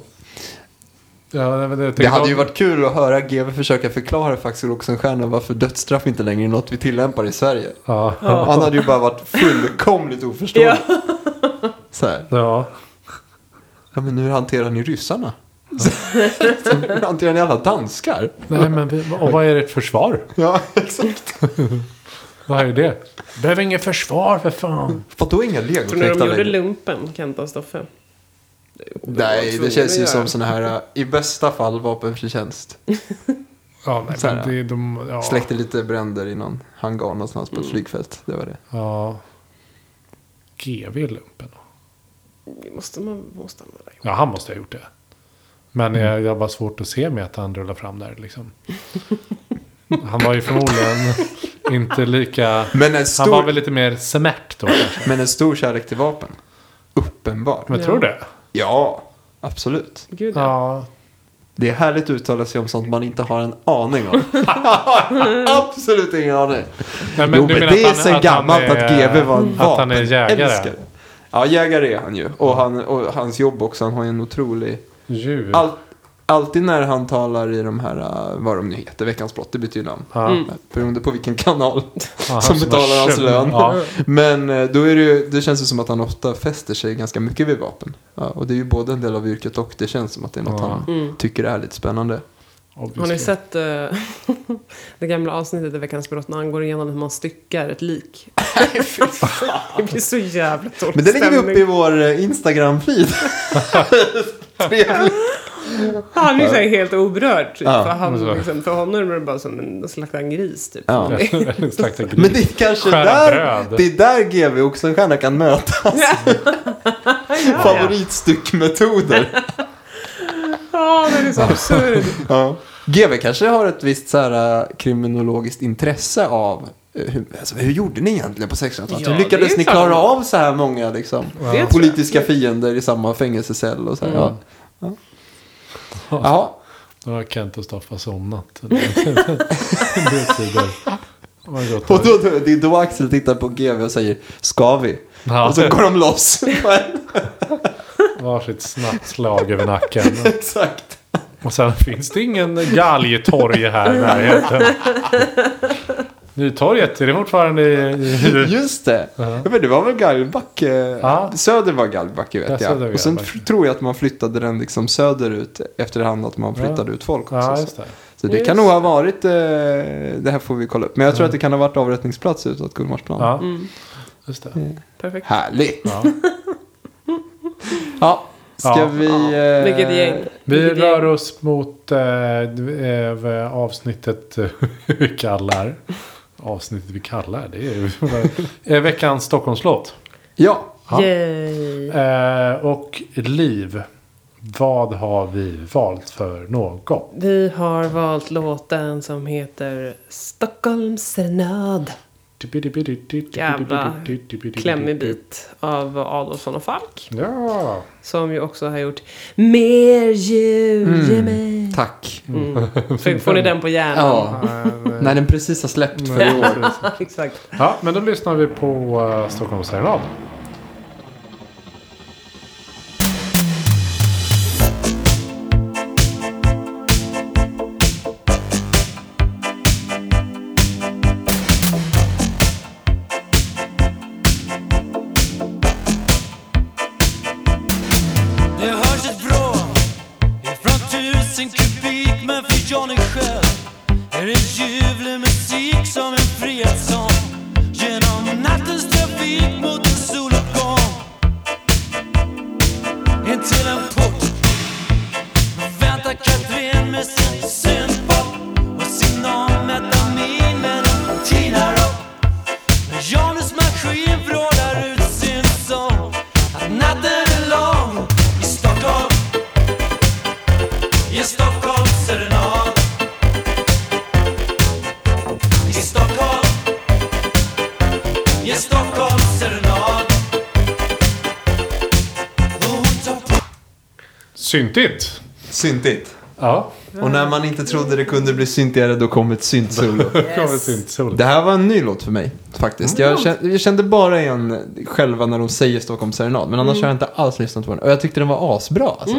[SPEAKER 1] Ja, nej, men jag
[SPEAKER 4] Det
[SPEAKER 1] tänkte-
[SPEAKER 4] hade ju varit kul att höra GV försöka förklara för Axel Oxenstierna varför dödsstraff inte längre är något vi tillämpar i Sverige.
[SPEAKER 1] Ja.
[SPEAKER 4] Han hade ju bara varit fullkomligt oförstående.
[SPEAKER 3] Ja.
[SPEAKER 4] Så här,
[SPEAKER 1] ja.
[SPEAKER 4] ja men hur hanterar ni ryssarna? hur hanterar ni alla danskar?
[SPEAKER 1] Nej, men vi- och vad är ert försvar?
[SPEAKER 4] Ja, exakt.
[SPEAKER 1] Vad är det? Behöver inget försvar för fan.
[SPEAKER 4] Vadå inga
[SPEAKER 3] Tror ni de
[SPEAKER 4] legoknektar
[SPEAKER 3] gjorde
[SPEAKER 4] längre?
[SPEAKER 3] lumpen, Kenta och Stoffe?
[SPEAKER 4] Nej,
[SPEAKER 3] tvungna
[SPEAKER 4] det känns ju
[SPEAKER 3] att göra.
[SPEAKER 4] som sådana här, äh, i bästa fall vapenfri tjänst.
[SPEAKER 1] Ja, nej,
[SPEAKER 4] Så här,
[SPEAKER 1] men det, de, ja.
[SPEAKER 4] Släckte lite bränder i någon hangar någonstans på
[SPEAKER 3] Mm.
[SPEAKER 4] ett flygfält. Det var det.
[SPEAKER 1] Ja. GV i lumpen.
[SPEAKER 3] Det Måste man, måste man väl ha gjort.
[SPEAKER 1] Ja, han måste ha gjort det. Men
[SPEAKER 3] Mm.
[SPEAKER 1] jag, jag var svårt att se med att han rullade fram där liksom. Han var ju förmodligen inte lika...
[SPEAKER 4] Men en
[SPEAKER 1] Han var
[SPEAKER 4] stor,
[SPEAKER 1] väl lite mer smärt då kanske.
[SPEAKER 4] men en stor kärlek till vapen. Uppenbar.
[SPEAKER 1] Men tror du det?
[SPEAKER 4] Ja, absolut.
[SPEAKER 3] Gud ja.
[SPEAKER 1] Ja.
[SPEAKER 4] Det är härligt att uttala sig om sånt man inte har en aning om. Absolut ingen aning.
[SPEAKER 1] Nej,
[SPEAKER 4] jo, men
[SPEAKER 1] menar
[SPEAKER 4] det
[SPEAKER 1] att
[SPEAKER 4] är
[SPEAKER 1] han-
[SPEAKER 4] sen
[SPEAKER 1] att han
[SPEAKER 4] gammalt
[SPEAKER 1] är-
[SPEAKER 4] att GV var en
[SPEAKER 1] Att han är jägare.
[SPEAKER 4] vapenälskare. Ja, jägare är han ju. Och, han, och hans jobb också. Han har ju en otrolig...
[SPEAKER 1] Djur.
[SPEAKER 4] All, alltid när han talar i de här, uh, vad de nu heter, Veckans brott, det betyder namn.
[SPEAKER 1] Ja.
[SPEAKER 4] Beroende på vilken kanal
[SPEAKER 1] Ja,
[SPEAKER 4] som
[SPEAKER 1] han
[SPEAKER 4] betalar
[SPEAKER 1] har
[SPEAKER 4] hans
[SPEAKER 1] köpt-
[SPEAKER 4] lön.
[SPEAKER 1] Ja.
[SPEAKER 4] Men eh, då är det ju, det känns ju som att han ofta fäster sig ganska mycket vid vapen. Ja, och det är ju både en del av yrket och det känns som att det är något
[SPEAKER 1] Ja.
[SPEAKER 4] han tycker är lite spännande.
[SPEAKER 1] Obviously.
[SPEAKER 3] Har ni sett eh, det gamla avsnittet i Veckans brott när han går igenom hur man styckar ett lik? det blir så jävla dålig
[SPEAKER 4] Men det lägger vi upp i
[SPEAKER 3] stämning.
[SPEAKER 4] vår eh, Instagram-feed. Trevligt.
[SPEAKER 3] Han är ju så här helt oberörd. Typ.
[SPEAKER 4] Ja.
[SPEAKER 3] För, han,
[SPEAKER 1] Så.
[SPEAKER 3] liksom, för honom är det bara som en slakta en gris typ.
[SPEAKER 4] Ja.
[SPEAKER 1] Slakta gris.
[SPEAKER 4] Men det är kanske
[SPEAKER 1] Skära
[SPEAKER 4] där,
[SPEAKER 1] bröd.
[SPEAKER 4] det är där GV och Oxenstierna kan mötas. Favoritstyckmetoder.
[SPEAKER 3] Ja, den är så absurd.
[SPEAKER 4] ja. GV kanske har ett visst så här, eh, kriminologiskt intresse av eh, hur, alltså, hur gjorde ni egentligen på 1600-talet?
[SPEAKER 3] Ja,
[SPEAKER 4] hur
[SPEAKER 3] det
[SPEAKER 4] lyckades
[SPEAKER 3] är
[SPEAKER 4] ni
[SPEAKER 3] klart.
[SPEAKER 4] klara av så här många liksom,
[SPEAKER 3] tror jag.
[SPEAKER 4] politiska fiender i samma fängelsecell? Och så här, ja. Ja. Jaha.
[SPEAKER 1] Då har Kent och Staffa somnat. det är tider. De har gått
[SPEAKER 4] Och då, då, det är då Axel tittar på GV och säger Ska vi?
[SPEAKER 1] Ja.
[SPEAKER 4] Och så går de loss.
[SPEAKER 1] varsitt snabbt slag över nacken.
[SPEAKER 4] Exakt.
[SPEAKER 1] Och sen finns det ingen galgtorg här i närheten. Nytorget, är det fortfarande i... i-
[SPEAKER 4] Just det.
[SPEAKER 1] Ja.
[SPEAKER 4] Ja, men det var väl Galgbacke?
[SPEAKER 1] Ja.
[SPEAKER 4] Söder var Galgbacke vet
[SPEAKER 1] Ja,
[SPEAKER 4] jag.
[SPEAKER 1] söder var
[SPEAKER 4] och sen
[SPEAKER 1] Galgbacke.
[SPEAKER 4] f- tror jag att man flyttade den liksom söderut efterhand att man flyttade
[SPEAKER 1] Ja.
[SPEAKER 4] ut folk också.
[SPEAKER 1] Ja,
[SPEAKER 4] så.
[SPEAKER 1] just det. Mm.
[SPEAKER 4] Så det kan nog ha varit, eh, det här får vi kolla upp. Men jag tror att det kan ha varit avrättningsplats utåt Gullmarsplan.
[SPEAKER 1] Ja, just det.
[SPEAKER 3] Perfekt.
[SPEAKER 4] Härligt.
[SPEAKER 1] Ja.
[SPEAKER 4] Ja, ska
[SPEAKER 1] Ja.
[SPEAKER 4] vi... Eh,
[SPEAKER 3] Vilket gäng.
[SPEAKER 1] Vi
[SPEAKER 3] Vilket gäng.
[SPEAKER 1] rör oss mot eh, eh, avsnittet eh, vi kallar... Avsnittet vi kallar? Det är ju... Eh, Veckans Stockholmslåt.
[SPEAKER 4] Ja,
[SPEAKER 1] Ja.
[SPEAKER 3] Yay.
[SPEAKER 1] Eh, och liv. Vad har vi valt för något?
[SPEAKER 3] Vi har valt låten som heter Stockholms serenad. Jävla
[SPEAKER 4] Typ.
[SPEAKER 3] Klämmig bit av Adolfsson och Falk.
[SPEAKER 1] Ja.
[SPEAKER 3] Som ju också har gjort Mer jul,
[SPEAKER 4] Mm.
[SPEAKER 3] ge mig.
[SPEAKER 4] tack.
[SPEAKER 1] Mm.
[SPEAKER 3] Så får ni den på hjärnan.
[SPEAKER 4] Ja.
[SPEAKER 1] eh,
[SPEAKER 4] När den precis har släppt för i år.
[SPEAKER 3] Exakt.
[SPEAKER 1] ja, men då lyssnar vi på eh, Stockholms serenad.
[SPEAKER 7] Det hörs ett vrål ifrån tusen kubik Men för Johnny själv är det ljuvlig musik som en frihetssång Genom nattens trafik mot en sol
[SPEAKER 1] syntigt.
[SPEAKER 4] Syntigt.
[SPEAKER 1] Ja,
[SPEAKER 4] Och när man inte trodde det kunde bli syntigare då kom ett syntsolo.
[SPEAKER 1] då kommer syntsolo.
[SPEAKER 4] Det här var en ny låt för mig faktiskt. Jag kände, jag kände bara igen själva när de säger Stockholm serenad. Men annars har jag inte alls lyssnat på den. Och jag tyckte den var asbra. Alltså.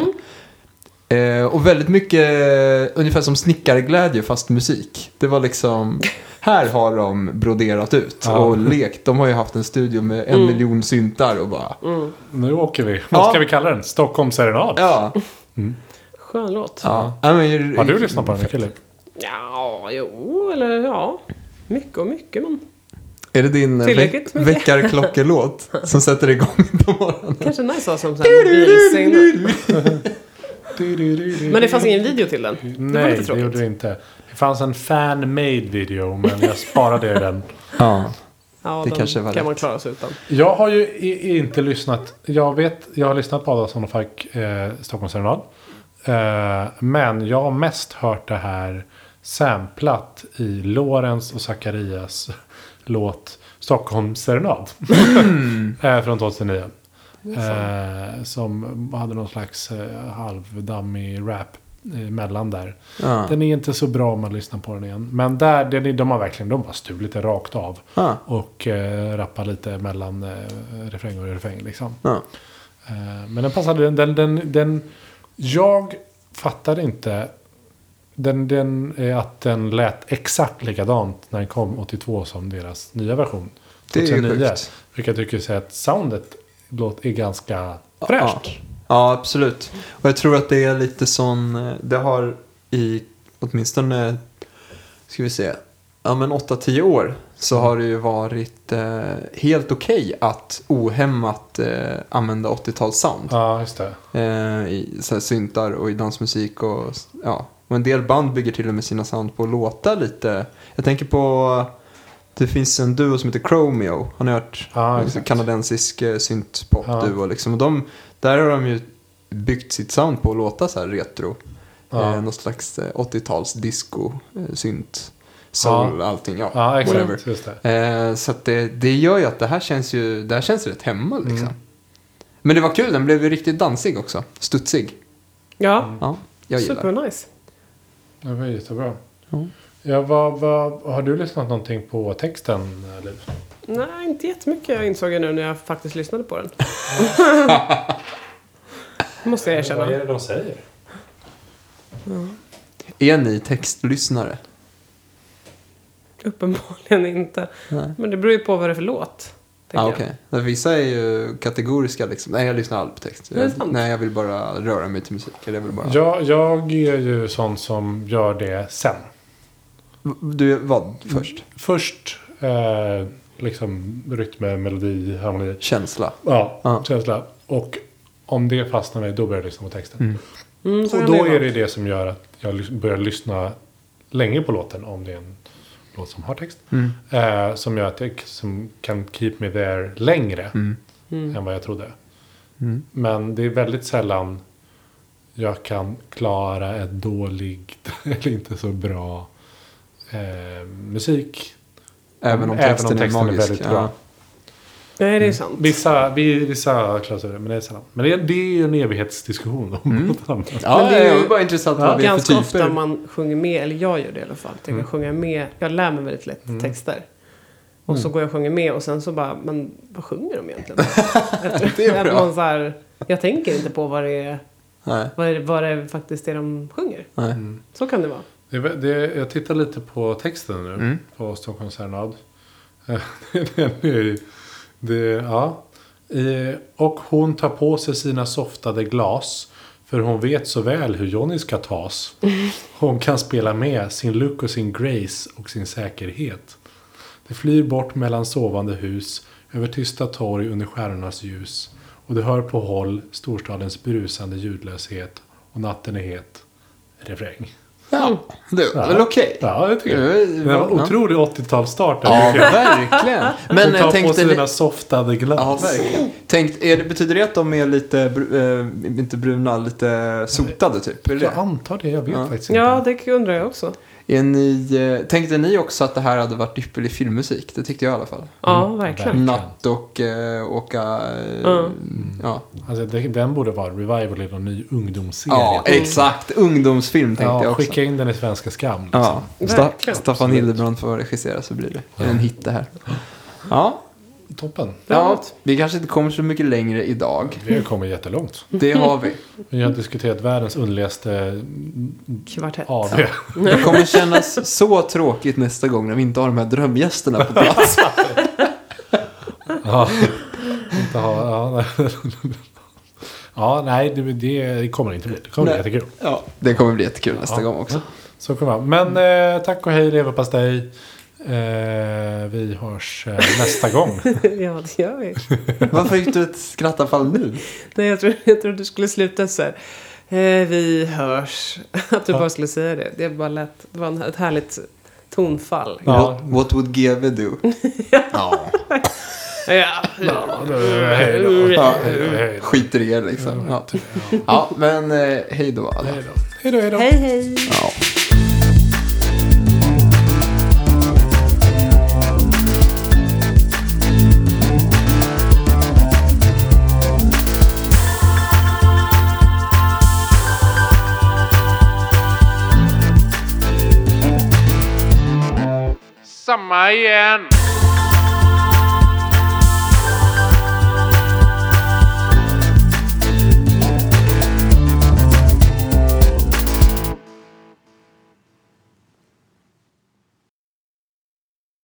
[SPEAKER 4] Eh, och väldigt mycket eh, ungefär som snickarglädje fast musik. Det var liksom, här har de broderat ut
[SPEAKER 1] Ja.
[SPEAKER 4] och lekt. De har ju haft en studio med en miljon syntar och bara,
[SPEAKER 1] Nu åker vi. Vad ska vi kalla den? Stockholms serenad.
[SPEAKER 4] ja.
[SPEAKER 3] Skön låt.
[SPEAKER 4] ja. ja men,
[SPEAKER 1] Har du lyssnat på den Filip?
[SPEAKER 3] Ja, jo, eller ja. Mycket och mycket, men
[SPEAKER 4] Är det din eh,
[SPEAKER 3] Tillräckligt
[SPEAKER 4] veck-
[SPEAKER 3] mycket.
[SPEAKER 4] väckarklockelåt som sätter igång på morgonen?
[SPEAKER 3] kanske nice att ha som sån här mobilsignal. Men det fanns ingen video till den. det var
[SPEAKER 1] Nej,
[SPEAKER 3] lite
[SPEAKER 1] det gjorde
[SPEAKER 3] tråkigt.
[SPEAKER 1] det inte. Det fanns en fan-made video, men jag sparade den.
[SPEAKER 4] Ja.
[SPEAKER 3] Ja,
[SPEAKER 4] Det
[SPEAKER 3] den
[SPEAKER 4] kanske var
[SPEAKER 3] kan man
[SPEAKER 4] rätt.
[SPEAKER 3] klara sig utan.
[SPEAKER 1] Jag har ju i, inte lyssnat. Jag vet, jag har lyssnat på Adolfsson och Falk, eh, Stockholms serenad. Eh, men jag har mest hört det här samplat i Lorentz och Zacharias låt Stockholms serenad. eh, från 2009. Eh, som hade någon slags eh, halvdammig rap emellan där.
[SPEAKER 4] Ja.
[SPEAKER 1] Den är inte så bra om man lyssnar på den igen. Men där, den, är- de har verkligen de har stulit det rakt av.
[SPEAKER 4] Ja.
[SPEAKER 1] Och eh, rappa lite mellan eh, refräng och refräng. Liksom.
[SPEAKER 4] Ja.
[SPEAKER 1] Eh, men den passade. Den, den, den, den, jag fattade inte den, den, eh, att den lät exakt likadant när den kom 82 som deras nya version.
[SPEAKER 4] Det är ju
[SPEAKER 1] 2009.
[SPEAKER 4] sjukt.
[SPEAKER 1] Vilket jag tycker säger att soundet låt är
[SPEAKER 4] Ah,
[SPEAKER 1] ganska fräscht.
[SPEAKER 4] Ja. ja, absolut. Och jag tror att det är lite sån, eh, det har i åtminstone, eh, ska vi se, ja men 8-10 år så har det ju varit eh, helt okej att ohämmat eh, använda 80-talssound.
[SPEAKER 1] Ja, just det.
[SPEAKER 4] Eh, I så här, syntar och i dansmusik och s- ja. Och en del band bygger till och med sina sound på att låta lite. Jag tänker på, det finns en duo som heter Chromeo. Har ni hört?
[SPEAKER 1] Ja,
[SPEAKER 4] En
[SPEAKER 1] exakt.
[SPEAKER 4] kanadensisk eh, syntpopduo. Liksom. Och de, där har de ju byggt sitt sound på att låta så här retro.
[SPEAKER 1] Ja.
[SPEAKER 4] Eh, någon slags eh, 80-tals disco, eh, synt, soul, allting. Ja,
[SPEAKER 1] Ja,
[SPEAKER 4] whatever.
[SPEAKER 1] exakt. Just det.
[SPEAKER 4] Eh, så att det, det gör ju att det här känns ju, det här känns rätt hemma liksom. Men det var kul, den blev ju riktigt dansig också. Studsig.
[SPEAKER 3] Ja,
[SPEAKER 4] Ja, jag gillar det.
[SPEAKER 3] supernice.
[SPEAKER 1] Det var jättebra. Ja, vad, vad, har du lyssnat någonting på texten, Liv?
[SPEAKER 3] Nej, inte jättemycket jag insåg jag nu när jag faktiskt lyssnade på den. Måste jag erkänna.
[SPEAKER 1] det de säger?
[SPEAKER 4] Är ni textlyssnare?
[SPEAKER 3] Uppenbarligen inte.
[SPEAKER 4] Nej.
[SPEAKER 3] Men det beror ju på vad det är för låt.
[SPEAKER 4] Ja,
[SPEAKER 3] tänker
[SPEAKER 4] ah,
[SPEAKER 3] jag.
[SPEAKER 4] okej. Men Vissa är ju kategoriska liksom. Nej, jag lyssnar aldrig på text.
[SPEAKER 3] Det är
[SPEAKER 4] Jag,
[SPEAKER 3] sant.
[SPEAKER 4] nej, jag vill bara röra mig till musik. Eller jag vill bara...
[SPEAKER 1] Jag, jag är ju sån som gör det sen.
[SPEAKER 4] Du, vad
[SPEAKER 1] Mm.
[SPEAKER 4] först?
[SPEAKER 1] Först eh, liksom rytm, melodi, harmoni.
[SPEAKER 4] Känsla.
[SPEAKER 1] Ja,
[SPEAKER 4] Ja.
[SPEAKER 1] känsla. Och om det fastnar mig, då börjar jag lyssna på texten.
[SPEAKER 3] Mm, så
[SPEAKER 1] Och
[SPEAKER 3] kan
[SPEAKER 1] då
[SPEAKER 3] vara.
[SPEAKER 1] är det det som gör att jag lys- börjar lyssna länge på låten, om det är en låt som har text.
[SPEAKER 4] Mm.
[SPEAKER 1] Eh, som gör att jag k- som kan keep me there längre
[SPEAKER 4] Mm.
[SPEAKER 1] än vad jag trodde. Men det är väldigt sällan jag kan klara ett dåligt eller inte så bra eh, musik.
[SPEAKER 4] Även om
[SPEAKER 1] Även om
[SPEAKER 4] texten,
[SPEAKER 1] texten är
[SPEAKER 4] är magisk.
[SPEAKER 1] väldigt
[SPEAKER 4] ja.
[SPEAKER 1] bra.
[SPEAKER 3] Nej,
[SPEAKER 4] Mm.
[SPEAKER 3] det är sant.
[SPEAKER 1] Vissa, vi- vissa klausurer, men det är sällan. Men det, det är ju en evighetsdiskussion om
[SPEAKER 4] Mm.
[SPEAKER 1] något annat.
[SPEAKER 4] Ja,
[SPEAKER 3] Men det
[SPEAKER 4] det
[SPEAKER 3] är ju
[SPEAKER 4] är bara intressant vad vi är för
[SPEAKER 3] Ganska ofta
[SPEAKER 4] typer. Mm.
[SPEAKER 3] man sjunger med, eller jag gör det i alla fall. att Jag, kan sjunga med, jag lär mig väldigt lätt
[SPEAKER 1] Mm.
[SPEAKER 3] texter. Och
[SPEAKER 4] Mm.
[SPEAKER 3] så går jag och sjunger med och sen så bara, men vad sjunger de egentligen?
[SPEAKER 4] Det är
[SPEAKER 3] Att
[SPEAKER 4] bra.
[SPEAKER 3] man så här, jag tänker inte på vad det, är,
[SPEAKER 4] Nej.
[SPEAKER 3] vad, det, vad det faktiskt är de sjunger.
[SPEAKER 4] Nej.
[SPEAKER 3] Så kan det vara.
[SPEAKER 1] Det, är vä- det, jag tittar lite på texten nu. På Stockholms serenad. Den är ju- det, ja. Eh, Och hon tar på sig sina softade glas. För hon vet så väl hur Johnny ska tas. Hon kan spela med sin look och sin grace och sin säkerhet. Det flyr bort mellan sovande hus, över tysta torg under stjärnornas ljus. Och du hör på håll storstadens brusande ljudlöshet. Och natten är het. Refräng.
[SPEAKER 4] Ja, det var väl okej.
[SPEAKER 1] Ja, det tycker jag.
[SPEAKER 4] Det
[SPEAKER 1] Det
[SPEAKER 4] var-
[SPEAKER 1] var en
[SPEAKER 4] ja.
[SPEAKER 1] otrolig 80-talsstart.
[SPEAKER 4] Ja,
[SPEAKER 1] där, tycker jag.
[SPEAKER 4] verkligen.
[SPEAKER 1] Hon
[SPEAKER 4] Men eh,
[SPEAKER 1] tar på
[SPEAKER 4] tänkte
[SPEAKER 1] sig
[SPEAKER 4] ni...
[SPEAKER 1] sina softade
[SPEAKER 4] Ja,
[SPEAKER 1] glas.
[SPEAKER 4] verkligen. Tänk, är det, betyder det att de är lite, br- eh, inte bruna, lite sotade typ? Är det
[SPEAKER 1] jag
[SPEAKER 4] det?
[SPEAKER 1] antar det, jag vet faktiskt inte.
[SPEAKER 3] Ja, det undrar jag också.
[SPEAKER 4] Är ni, eh, tänkte ni också att det här hade varit ypperlig filmmusik? Det tyckte jag i alla fall.
[SPEAKER 3] Ja, verkligen.
[SPEAKER 1] Verkligen.
[SPEAKER 4] Natt och eh, åka... eh,
[SPEAKER 3] Ja.
[SPEAKER 4] Ja.
[SPEAKER 1] Alltså, det, den borde vara revival i någon ny ungdomsserie.
[SPEAKER 4] ja, exakt. Ungdomsfilm tänkte
[SPEAKER 1] Ja,
[SPEAKER 4] jag också.
[SPEAKER 1] skicka in den i Svenska Skam. Liksom.
[SPEAKER 4] Ja, Sta-
[SPEAKER 3] Verkligen.
[SPEAKER 4] Staffan Hildebrand får regissera så blir det en hit det här. Ja,
[SPEAKER 1] liksom. Toppen.
[SPEAKER 4] ja, vi kanske inte kommer så mycket längre idag.
[SPEAKER 1] Vi har kommit jättelångt.
[SPEAKER 4] Det har vi.
[SPEAKER 1] Vi har diskuterat världens underligaste
[SPEAKER 3] Kvartett.
[SPEAKER 1] AV.
[SPEAKER 4] Det kommer kännas så tråkigt nästa gång när vi inte har de här drömgästerna på plats.
[SPEAKER 1] Ja. Inte ha, ja, nej. ja, nej, det, det kommer inte bli. Det kommer bli
[SPEAKER 4] Nej.
[SPEAKER 1] jättekul.
[SPEAKER 4] Ja, det kommer bli jättekul nästa
[SPEAKER 1] Ja.
[SPEAKER 4] gång också.
[SPEAKER 1] Så kommer det vara. Men eh, tack och hej leverpastej. Eh, vi hörs eh, nästa gång.
[SPEAKER 3] ja, det gör vi.
[SPEAKER 4] Varför gick du ett skrattafall nu?
[SPEAKER 3] Nej, jag trodde jag tror du skulle sluta så här. Eh, vi hörs. Att du bara skulle säga det. Det, är bara lätt. det var en- ett härligt tonfall.
[SPEAKER 1] Ja.
[SPEAKER 4] What, what would GW do? ja.
[SPEAKER 3] Ja.
[SPEAKER 1] Ja, hej då.
[SPEAKER 4] Ja,
[SPEAKER 1] Hej då.
[SPEAKER 4] skiter i er liksom. Ja, ja men eh, hej då alla.
[SPEAKER 1] Hej då. Hej då, hej då.
[SPEAKER 3] Hej, hej.
[SPEAKER 4] Ja.
[SPEAKER 2] Samma igen.